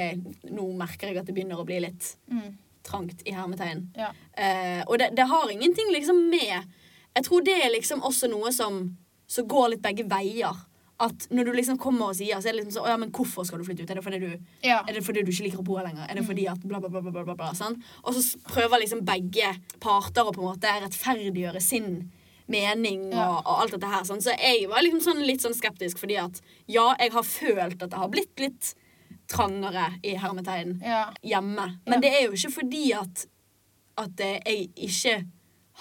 S3: nå merker jeg at det begynner å bli litt
S1: Mm.
S3: trangt i hermetegn.
S1: Ja.
S3: Eh, og det, det har ingenting liksom med Jeg tror det er liksom også noe som Som går litt begge veier. At når du liksom kommer og sier, så er det liksom sånn Å ja, men hvorfor skal du flytte ut? Er det fordi du
S1: Ja. Mm.
S3: er det fordi du ikke liker å bo her lenger? Er det fordi at bla, bla, bla, bla, bla, bla, bla sånn? Og så s- prøver liksom begge parter å på en måte rettferdiggjøre sin mening og,
S1: Ja.
S3: og alt dette her. Sånn. Så jeg var liksom sånn, litt sånn skeptisk, fordi at ja, jeg har følt at det har blitt litt trangere i hermetegn
S1: Ja.
S3: hjemme. Men
S1: Ja.
S3: det er jo ikke fordi at, at eh, jeg ikke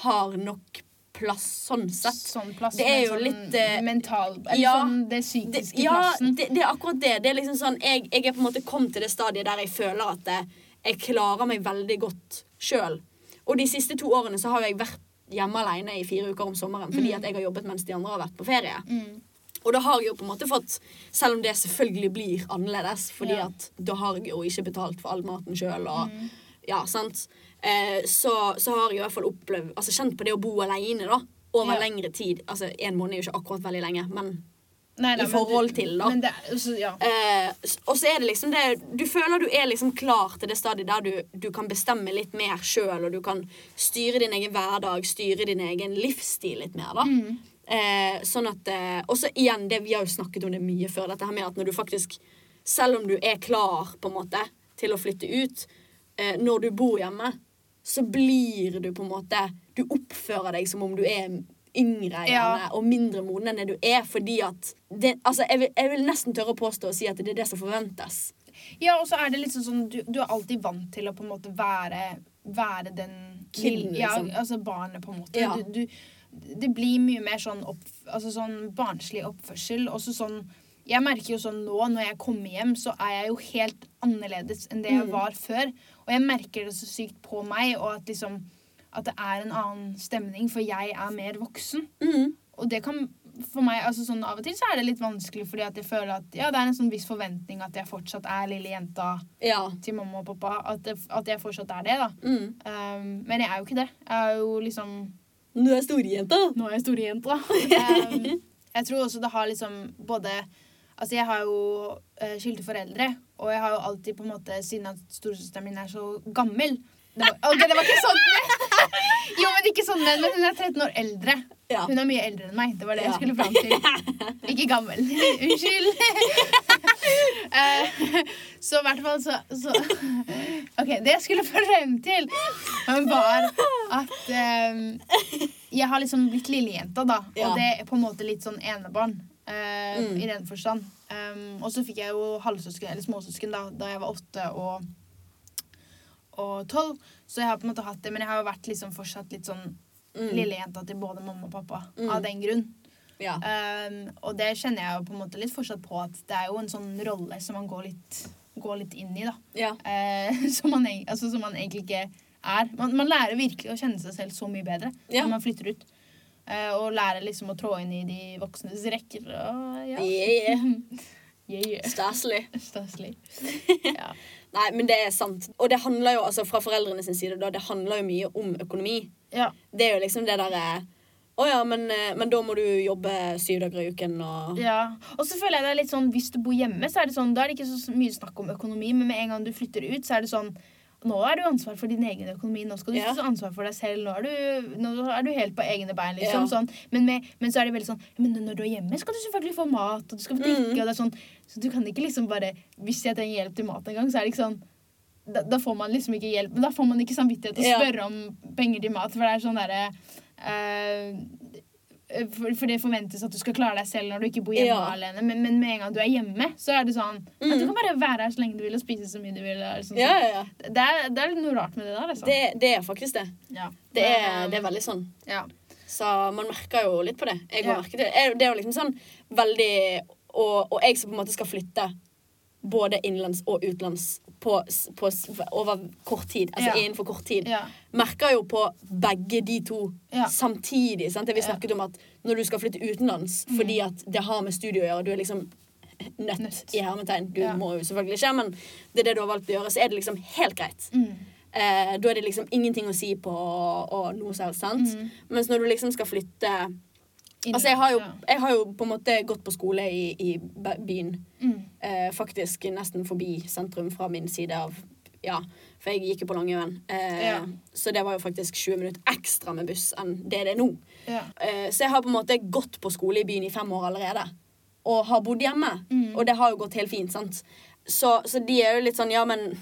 S3: har nok plass sånn sett.
S1: Sånn plass.
S3: Det er
S1: men
S3: jo
S1: sånn
S3: litt, eh,
S1: mental Eller
S3: ja,
S1: sånn det
S3: det,
S1: psykiske
S3: ja,
S1: plassen.
S3: det, det er akkurat det. Det er liksom sånn, jeg, jeg er på en måte kommet til det stadiet der jeg føler at jeg, jeg klarer meg veldig godt sjøl. Og de siste to årene så har jo jeg vært hjemme alene i fire uker om sommeren fordi at jeg har jobbet mens de andre har vært på ferie.
S1: Mm.
S3: Og da har jeg jo på en måte fått Selv om det selvfølgelig blir annerledes, fordi
S1: Ja. Mm.
S3: at da har jeg jo ikke betalt for all maten sjøl og Ja, sant. Eh, så, så har jeg i hvert fall opplevd Altså kjent på det å bo aleine, da. Over
S1: Ja.
S3: lengre tid. Altså, én måned er jo ikke akkurat veldig lenge, men
S1: Nei, nei,
S3: i
S1: men
S3: forhold
S1: du-
S3: til, da.
S1: Men det, er- altså, ja.
S3: Eh, s- og så er det liksom det Du føler du er liksom klar til det stadiet der du, du kan bestemme litt mer sjøl, og du kan styre din egen hverdag, styre din egen livsstil litt mer, da. Eh, sånn at eh, Og så igjen, det, vi har jo snakket om det mye før, dette her med at når du faktisk Selv om du er klar, på en måte, til å flytte ut, eh, når du bor hjemme, så blir du på en måte Du oppfører deg som om du er yngre
S1: Ja.
S3: gjerne, og mindre moden enn det du er, fordi at det, altså, jeg, vil, jeg vil nesten tørre å påstå og si at det er det som forventes.
S1: Ja, og så er det litt sånn sånn du, du er alltid vant til å på en måte være, være den
S3: Kiden,
S1: lille- ja,
S3: liksom.
S1: Altså barnet, på en måte.
S3: Ja.
S1: Du, du, det blir mye mer sånn, opp, altså sånn barnslig oppførsel. Og så sånn Jeg merker jo sånn nå, når jeg kommer hjem, så er jeg jo helt annerledes enn det jeg var før. Og jeg merker det så sykt på meg, og at liksom At det er en annen stemning, for jeg er mer voksen.
S3: Mhm.
S1: Og det kan for meg, altså sånn Av og til så er det litt vanskelig, fordi at jeg føler at ja, det er en sånn viss forventning at jeg fortsatt er lille jenta
S3: Ja.
S1: til mamma og pappa. At, det, at jeg fortsatt er det, da.
S3: Mm.
S1: Um, men jeg er jo ikke det. Jeg er jo liksom
S3: Nå er jeg storjenta.
S1: Nå er jeg storjenta. um, jeg tror også det har liksom både Altså, jeg har jo eh, skilte foreldre, og jeg har jo alltid på en måte Siden at storesøsteren min er så gammel det var, Ok, det var ikke sånn Jo, men ikke sånn men hun er 13 år eldre.
S3: Ja.
S1: Hun er mye eldre enn meg. Det var det
S3: Ja.
S1: jeg skulle fram til. Ikke gammel. Unnskyld. Eh, så i hvert fall så, så OK, det jeg skulle frem til, var at eh, jeg har liksom blitt lillejenta, da.
S3: Ja.
S1: Og det er på en måte litt sånn enebarn. eh,
S3: Mm.
S1: I den forstand. Um, og så fikk jeg jo halvsøsken, eller småsøsken, da, da jeg var åtte og og tolv, så jeg har på en måte hatt det, men jeg har jo vært liksom fortsatt litt sånn
S3: Mm.
S1: lillejenta til både mamma og pappa.
S3: Mm.
S1: Av den grunn.
S3: Ja.
S1: Um, og det kjenner jeg jo på en måte litt fortsatt på at det er jo en sånn rolle som man går litt, går litt inn i, da.
S3: ja.
S1: Eh, som, man, eg- altså, som man egentlig ikke er. Man, man lærer virkelig å kjenne seg selv så mye bedre
S3: Ja.
S1: når man flytter ut. Eh, og lærer liksom å trå inn i de voksnes rekker. Og, ja.
S3: Yeah.
S1: Yeah.
S3: Staselig.
S1: Staselig. Ja.
S3: Nei, men det er sant. Og det handler jo, altså fra foreldrene sin side, da, det handler jo mye om økonomi.
S1: ja.
S3: Det er jo liksom det derre Å ja, men, eh, men da må du jobbe syv dager i uken og
S1: Ja. Og så føler jeg det er litt sånn hvis du bor hjemme, så er det sånn, da er det ikke så mye snakk om økonomi, men med en gang du flytter ut, så er det sånn nå er du ansvar for din egen økonomi, nå skal du
S3: Ja.
S1: ta ansvar for deg selv. Nå er du, nå er du helt på egne bein. liksom
S3: Ja.
S1: sånn. men, med, men så er det veldig sånn Men når du er hjemme, skal du selvfølgelig få mat, og du skal få
S3: Mm.
S1: drikke. og det er sånn, Så du kan ikke liksom bare Hvis jeg trenger hjelp til mat en gang, så er det ikke sånn da, da får man liksom ikke hjelp. Da får man ikke samvittighet til å
S3: Ja.
S1: spørre om penger til mat. For det er sånn derre eh, for, for det forventes at du skal klare deg selv når du ikke bor hjemme
S3: Ja.
S1: alene. Men, men med en gang du er hjemme, så er det sånn at du
S3: Mm.
S1: kan bare være her så lenge du vil og spise så mye du vil. og Sånn,
S3: Ja, ja, ja.
S1: Det, er, det er noe rart med det der. Altså.
S3: Det, det er faktisk det.
S1: ja.
S3: Det er, det er veldig sånn.
S1: ja.
S3: Så man merker jo litt på det. Jeg har
S1: Ja.
S3: merket det. Jeg- Det er jo liksom sånn veldig og, og jeg som på en måte skal flytte både innenlands og utenlands på, s- på, s- over kort tid, altså
S1: Ja.
S3: innenfor kort tid,
S1: Ja.
S3: merker jo på begge de to
S1: Ja.
S3: samtidig. Sant? Det vi
S1: Ja. Mm.
S3: snakket om at når du skal flytte utenlands fordi at det har med studio å gjøre, du er liksom nødt,
S1: Nødt.
S3: i hermetegn. Du
S1: Ja.
S3: må jo selvfølgelig ikke, men det er det du har valgt å gjøre, så er det liksom helt greit.
S1: Mm.
S3: Eh, da er det liksom ingenting å si på og, og noe selv, sant?
S1: Mhm.
S3: Mens når du liksom skal flytte
S1: Inn-
S3: Altså, jeg har jo,
S1: ja.
S3: jeg har jo på en måte gått på skole i, i b- byen,
S1: mm.
S3: eh, faktisk nesten forbi sentrum fra min side av Ja, for jeg gikk jo på Langøyen, eh,
S1: Ja.
S3: så det var jo faktisk 20 minutter ekstra med buss enn det det er nå.
S1: ja.
S3: Eh, så jeg har på en måte gått på skole i byen i fem år allerede. Og har bodd hjemme.
S1: Mm.
S3: Og det har jo gått helt fint, sant. Så, så de er jo litt sånn Ja, men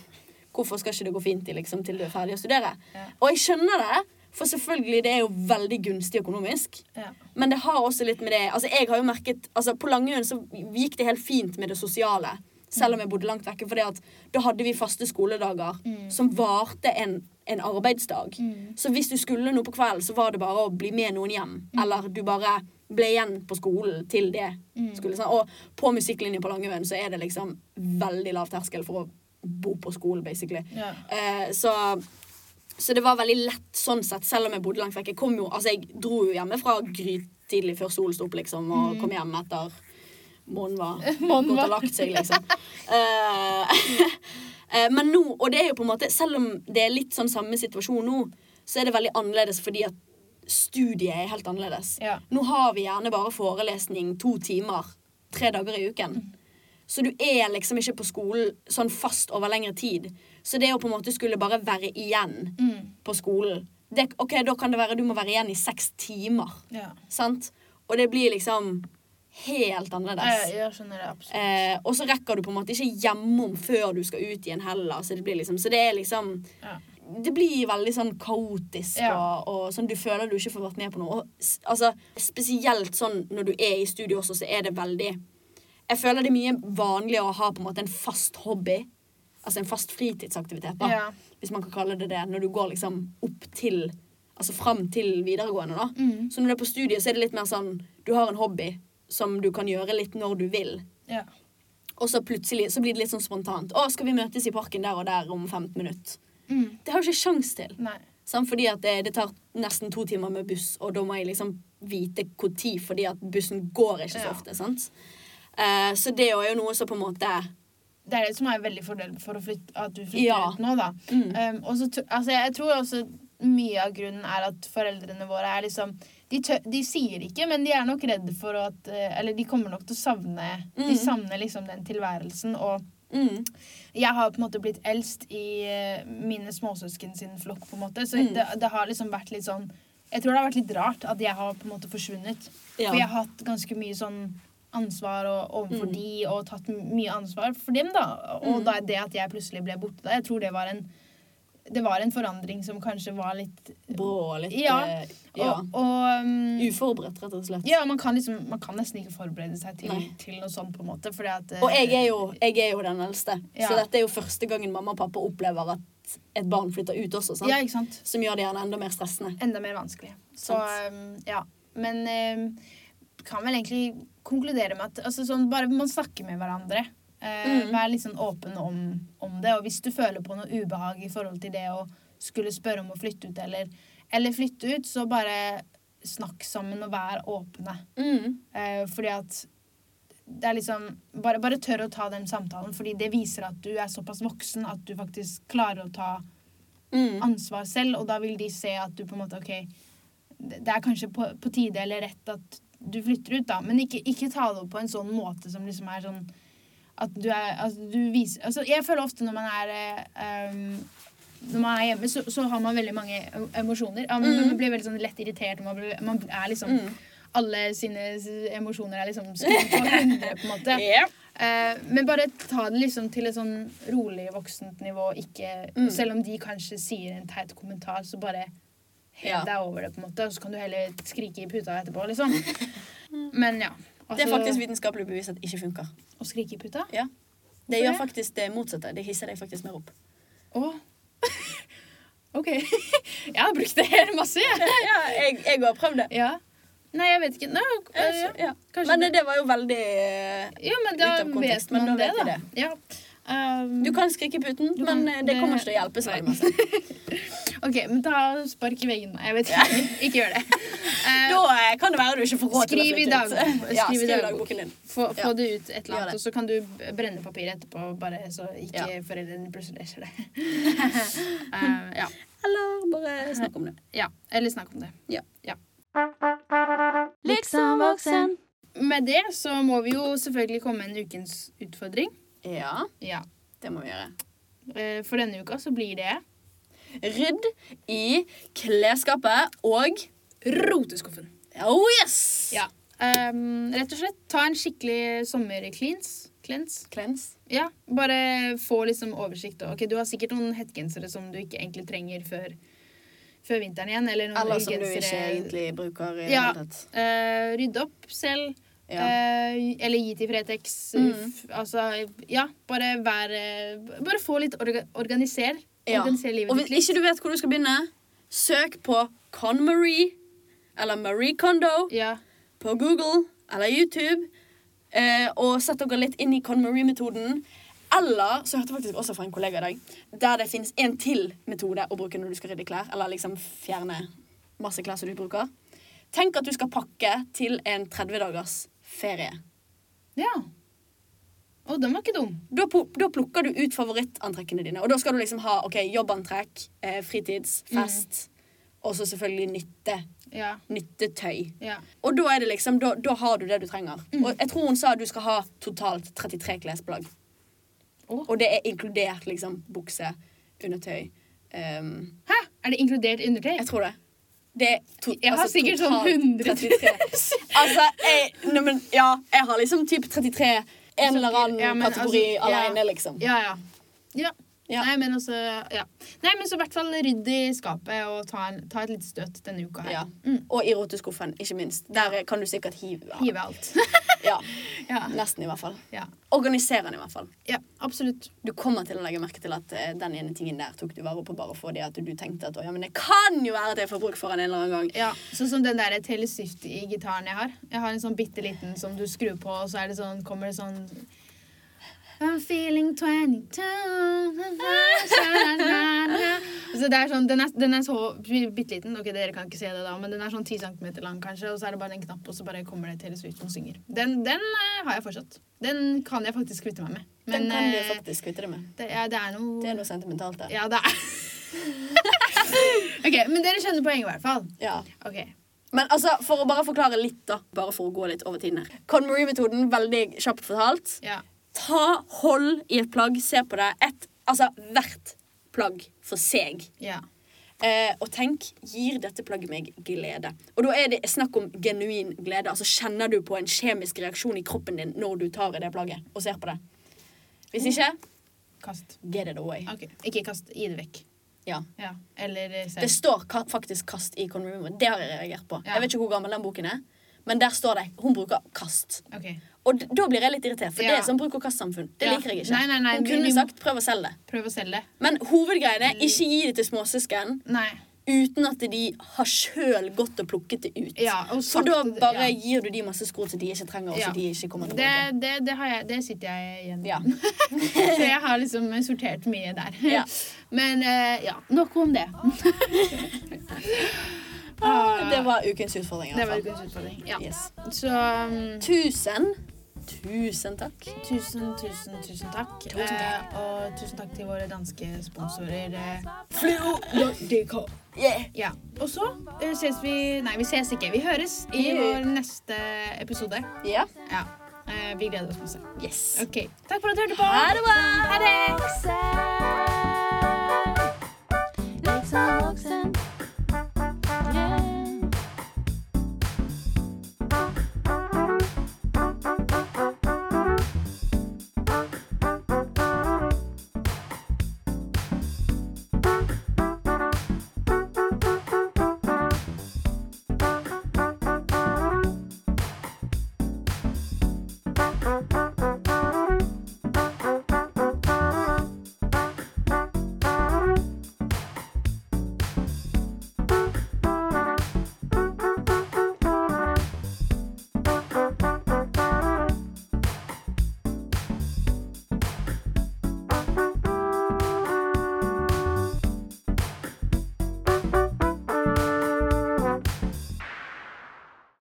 S3: hvorfor skal ikke det gå fint i, liksom, til du er ferdig å studere?
S1: Ja.
S3: Og jeg skjønner det, for selvfølgelig, det er jo veldig gunstig økonomisk.
S1: Ja.
S3: Men det har også litt med det Altså, jeg har jo merket Altså, på Langøyen så gikk det helt fint med det sosiale. Selv om jeg bodde langt vekke. For det at da hadde vi faste skoledager
S1: Mm.
S3: som varte en, en arbeidsdag.
S1: Mm.
S3: Så hvis du skulle noe på kvelden, så var det bare å bli med noen hjem. Eller du bare ble igjen på skolen til det
S1: Mm.
S3: skulle sånn. Og på musikklinjen på Langøyen så er det liksom veldig lav terskel for å bo på skolen, basically.
S1: Ja.
S3: Eh, så så det var veldig lett sånn sett, selv om jeg bodde langt vekk. Jeg, kom jo, altså jeg dro jo hjemmefra grytidlig før solen sto opp, liksom, og kom hjem etter månen var
S1: Mm. Månen
S3: gått
S1: var-
S3: og lagt seg, liksom. Eh, eh, men nå, og det er jo på en måte, selv om det er litt sånn samme situasjon nå, så er det veldig annerledes fordi at studiet er helt annerledes.
S1: Ja.
S3: Nå har vi gjerne bare forelesning to timer tre dager i uken.
S1: Mm.
S3: Så du er liksom ikke på skolen sånn fast over lengre tid. Så det å på en måte skulle bare være igjen
S1: Mm.
S3: på skolen det, Ok, da kan det være du må være igjen i seks timer.
S1: Ja.
S3: Sant? Og det blir liksom helt
S1: Jeg,
S3: annerledes.
S1: jeg skjønner det absolutt.
S3: Eh, og så rekker du på en måte ikke hjemom før du skal ut igjen heller. Så det blir liksom, så det er liksom
S1: Ja.
S3: det blir veldig sånn kaotisk,
S1: Ja.
S3: og, og sånn, du føler du ikke får vært med på noe. Og, s- altså, spesielt sånn når du er i studio også, så er det veldig Jeg føler det er mye vanligere å ha på en måte en fast hobby. Altså en fast fritidsaktivitet, da,
S1: Ja.
S3: hvis man kan kalle det det. Når du går liksom opp til Altså fram til videregående, da.
S1: Mm.
S3: Så når du er på studiet, så er det litt mer sånn Du har en hobby som du kan gjøre litt når du vil.
S1: Ja.
S3: Og så plutselig så blir det litt sånn spontant. 'Å, skal vi møtes i parken der og der om 15 minutter?'
S1: Mm.
S3: Det har du ikke sjans til.
S1: Nei.
S3: Sant? Fordi at det, det tar nesten to timer med buss, og da må jeg liksom vite når, fordi at bussen går ikke
S1: Ja.
S3: så ofte. sant? Eh, så det er jo noe som på en måte
S1: det er det som er veldig fordel for å flytte, at du flytter
S3: Ja.
S1: ut nå, da.
S3: Mm.
S1: Um, og så tr- altså, jeg tror også mye av grunnen er at foreldrene våre er liksom de, tør, de sier ikke, men de er nok redd for at eh, Eller de kommer nok til å savne De
S3: Mm.
S1: savner liksom den tilværelsen. Og
S3: mm,
S1: jeg har på en måte blitt eldst i eh, mine småsøsken sin flokk, på en måte. Så
S3: Mm.
S1: det, det har liksom vært litt sånn Jeg tror det har vært litt rart at jeg har på en måte forsvunnet.
S3: ja.
S1: For jeg har hatt ganske mye sånn ansvar og, overfor
S3: Mm.
S1: de, og tatt m- mye ansvar for dem, da. Og
S3: Mm.
S1: da det at jeg plutselig ble borte der, jeg tror det var en det var en forandring som kanskje var litt
S3: Brå og litt
S1: Ja.
S3: eh, ja.
S1: Og, og um,
S3: Uforberedt, rett og slett.
S1: Ja, man kan liksom Man kan nesten ikke forberede seg til,
S3: Nei.
S1: til noe sånt, på en måte, fordi at eh,
S3: Og jeg er, jo, jeg er jo den eldste,
S1: Ja.
S3: så dette er jo første gangen mamma og pappa opplever at et barn flytter ut også. sant?
S1: Ja, ikke sant?
S3: Som gjør det gjerne enda mer stressende.
S1: Enda mer vanskelig. Så
S3: Sant.
S1: um, ja. Men um, kan vel egentlig konkludere med at altså, sånn, bare man snakker med hverandre. eh,
S3: Mm.
S1: Vær litt sånn åpen om, om det. Og hvis du føler på noe ubehag i forhold til det å skulle spørre om å flytte ut eller, eller flytte ut, så bare snakk sammen og vær åpne.
S3: Mm.
S1: Eh, fordi at det er liksom bare, bare tør å ta den samtalen, fordi det viser at du er såpass voksen at du faktisk klarer å ta
S3: Mm.
S1: ansvar selv, og da vil de se at du på en måte OK, det det er kanskje på, på tide eller rett at du flytter ut, da, men ikke, ikke ta det opp på en sånn måte som liksom er sånn at du er Altså, du viser Altså, jeg føler ofte når man er eh, um, når man er hjemme, så, så har man veldig mange em- emosjoner. Ja, man, man blir veldig sånn lett irritert. Man, blir, man er liksom
S3: Mm.
S1: Alle sine s- emosjoner er liksom skrudd på 100, på en måte.
S3: Ja.
S1: Eh, men bare ta det liksom til et sånn rolig voksent nivå. Ikke,
S3: Mm.
S1: Selv om de kanskje sier en teit kommentar, så bare hev
S3: Ja.
S1: deg over det. på en måte Og så kan du heller skrike i puta etterpå, liksom. Men ja.
S3: Det er
S1: altså,
S3: faktisk vitenskapelig bevist at det ikke funker.
S1: Å skrike i puta?
S3: Ja. Det
S1: Hvorfor
S3: gjør
S1: det?
S3: faktisk det motsatte. Det hisser deg faktisk mer opp.
S1: Å. OK. jeg har brukt det her masse, jeg.
S3: Ja, jeg, jeg har prøvd det.
S1: Ja. Nei, jeg vet ikke. Nå, eh,
S3: Ja.
S1: kanskje
S3: Men det var jo veldig eh,
S1: Jo, men da
S3: ut av
S1: vet
S3: kontekst,
S1: man
S3: men da
S1: det,
S3: vet
S1: da.
S3: jeg
S1: Ja. Um,
S3: Du kan skrike i puten,
S1: Du kan-
S3: men eh, det kommer ikke til å hjelpe.
S1: Nei.
S3: Sverre Masse.
S1: OK, men ta spark i veggen. Nei, Jeg vet ikke. ikke gjør det. Eh,
S3: Da eh, kan det være du ikke får råd til å
S1: Skriv i
S3: flytte ut.
S1: dagbok.
S3: Ja,
S1: Skriv i
S3: skriv i
S1: dagbok.
S3: dagboken din.
S1: Få, få
S3: Ja.
S1: det ut et eller
S3: Gjør
S1: annet,
S3: det.
S1: og så kan du b- brenne papiret etterpå, bare så ikke
S3: Ja.
S1: foreldrene plutselig leser det. Eh, ja.
S3: Eller bare snakk om det.
S1: ja. Eller snakk om det.
S2: Liksom voksen.
S1: Med det så må vi jo selvfølgelig komme med en ukens utfordring.
S3: Ja,
S1: Ja.
S3: det må vi gjøre.
S1: Eh, For denne uka så blir det
S3: Rydd i klesskapet og
S1: roteskuffen.
S3: Oh yes!
S1: Ja. Ehm, rett og slett ta en skikkelig sommercleans. Cleanse.
S3: Klens.
S1: Ja, bare få liksom oversikt. og- Ok, Du har sikkert noen hettegensere som du ikke egentlig trenger før, før vinteren igjen. Eller noen
S3: Eller som du ikke
S1: gensere-
S3: egentlig bruker i det
S1: Ja.
S3: hele tatt.
S1: Eh, rydde opp selv.
S3: Ja.
S1: Eh, eller gi til Fretex. eh,
S3: Mm.
S1: F- Altså, ja, bare vær eh, Bare få litt orga organiser.
S3: Ja.
S1: Organiser livet
S3: Og hvis
S1: ditt litt.
S3: ikke du vet hvor du skal begynne, søk på Con-Marie eller Marie Kondo
S1: Ja.
S3: på Google eller YouTube. eh, Og sett dere litt inn i Con-Marie-metoden. Eller så hørte jeg faktisk også fra en kollega i dag, der det finnes en til metode å bruke når du skal rydde klær, eller liksom fjerne masse klær som du bruker. Tenk at du skal pakke til en 30 dagers ferie.
S1: ja. Å, den var ikke dum.
S3: Da, pu- da plukker du ut favorittantrekkene dine. Og da skal du liksom ha ok, jobbantrekk, eh, fritids, fest, og så selvfølgelig nytte.
S1: Ja.
S3: Nyttetøy.
S1: ja.
S3: Og da, er det liksom, da, da har du det du trenger.
S1: Mm.
S3: Og jeg tror hun sa at du skal ha totalt 33 klesplagg.
S1: Å.
S3: Og det er inkludert liksom bukse, undertøy ehm,
S1: Hæ? Er det inkludert undertøy?
S3: Jeg tror det. Det er to, altså,
S1: Jeg har sikkert sånn
S3: totalt
S1: 100
S3: 33. altså, jeg, nei, men, ja, jeg har liksom typ 33 en eller annen
S1: Altså, Ja, men
S3: kategori
S1: altså, ja.
S3: alene, liksom.
S1: Ja, ja. Ja.
S3: Ja.
S1: Nei, men altså Ja. Nei, men så i hvert fall rydd i skapet og ta, en, ta et lite støt denne uka her.
S3: Ja.
S1: Mm.
S3: Og i roteskuffen, ikke minst. Der kan du sikkert hive.
S1: Hive alt.
S3: Ja,
S1: ja.
S3: Nesten, i hvert fall.
S1: ja.
S3: Organiser den, i hvert fall.
S1: Ja, absolutt.
S3: Du kommer til å legge merke til at eh, den ene tingen der tok du vare på bare fordi at du tenkte at «Å, ja, men det kan jo være at jeg får bruk for den en eller annen gang.
S1: Ja, Sånn som den der telesyft i gitaren jeg har. Jeg har en sånn bitte liten som du skrur på, og så er det sånn, kommer det sånn I'm feeling 22 Så det er sånn, den er, den er så bitte liten. Ok, dere kan ikke se det da, men den er sånn 10 cm lang, kanskje. Og så er det bare en knapp, og så bare kommer det telesyft som synger. Den, den eh, har jeg fortsatt. Den kan jeg faktisk kvitte meg med. Men
S3: den kan du
S1: eh,
S3: faktisk kvitte deg med.
S1: det, er, det er noe
S3: Det er noe sentimentalt der.
S1: Ja, det er Ok, men dere skjønner poenget i hvert fall.
S3: Ja.
S1: Ok,
S3: Men altså, for å bare forklare litt, da. Bare for å gå litt over tiden her. Conmarie-metoden, veldig kjapt fortalt.
S1: ja.
S3: Ta hold i et plagg, se på det. Et, altså hvert plagg for seg.
S1: Ja.
S3: Eh, og tenk, gir dette plagget meg glede? Og da er det snakk om genuin glede. Altså Kjenner du på en kjemisk reaksjon i kroppen din når du tar i det plagget og ser på det? Hvis ikke,
S1: Kast.
S3: get it away.
S1: Ok, Ikke kast. Gi det vekk.
S3: Ja.
S1: Ja. Eller eh,
S3: Det
S1: selv.
S3: står ka faktisk 'kast' i Conroomer. Det har jeg reagert på.
S1: Ja.
S3: Jeg vet ikke hvor gammel den boken er, men der står det. Hun bruker 'kast'.
S1: Ok,
S3: Og d- da blir jeg litt irritert, for
S1: Ja.
S3: det er sånn bruk og kast-samfunn. Det
S1: Ja.
S3: liker jeg ikke.
S1: Nei, nei, nei,
S3: Hun
S1: vi- Mm.
S3: kunne
S1: vi må-
S3: sagt 'prøv å selge det'.
S1: Prøv å selge det.
S3: Men hovedgreiene er ikke gi det til småsøsken.
S1: Nei.
S3: uten at de har sjøl gått og plukket det ut.
S1: Ja, og
S3: For
S1: sagt-
S3: da bare
S1: ja.
S3: gir du de masse sko som de ikke trenger, og som
S1: Ja.
S3: de ikke kommer
S1: det,
S3: tilbake.
S1: det, det, har jeg, det sitter jeg igjen med.
S3: Ja.
S1: Så jeg har liksom sortert mye der.
S3: Ja.
S1: Men eh, ja, nok om det.
S3: Ah, Det var ukens utfordring. i
S1: Det var
S3: hvert fall.
S1: ukens utfordring. Ja.
S3: Yes.
S1: Så um,
S3: Tusen, tusen takk.
S1: tusen, tusen, tusen takk.
S3: Tusen takk.
S1: Eh, og tusen takk til våre danske sponsorer. eh.
S3: Yeah.
S1: Ja. Og så eh, ses vi Nei, vi ses ikke. Vi høres i
S3: Vi-
S1: vår neste episode.
S3: Ja.
S1: Ja. Eh, vi gleder oss masse.
S3: Yes.
S1: OK. Takk for at du hørte på.
S3: Ha det bra!
S1: Ha det!
S2: Liksom voksen.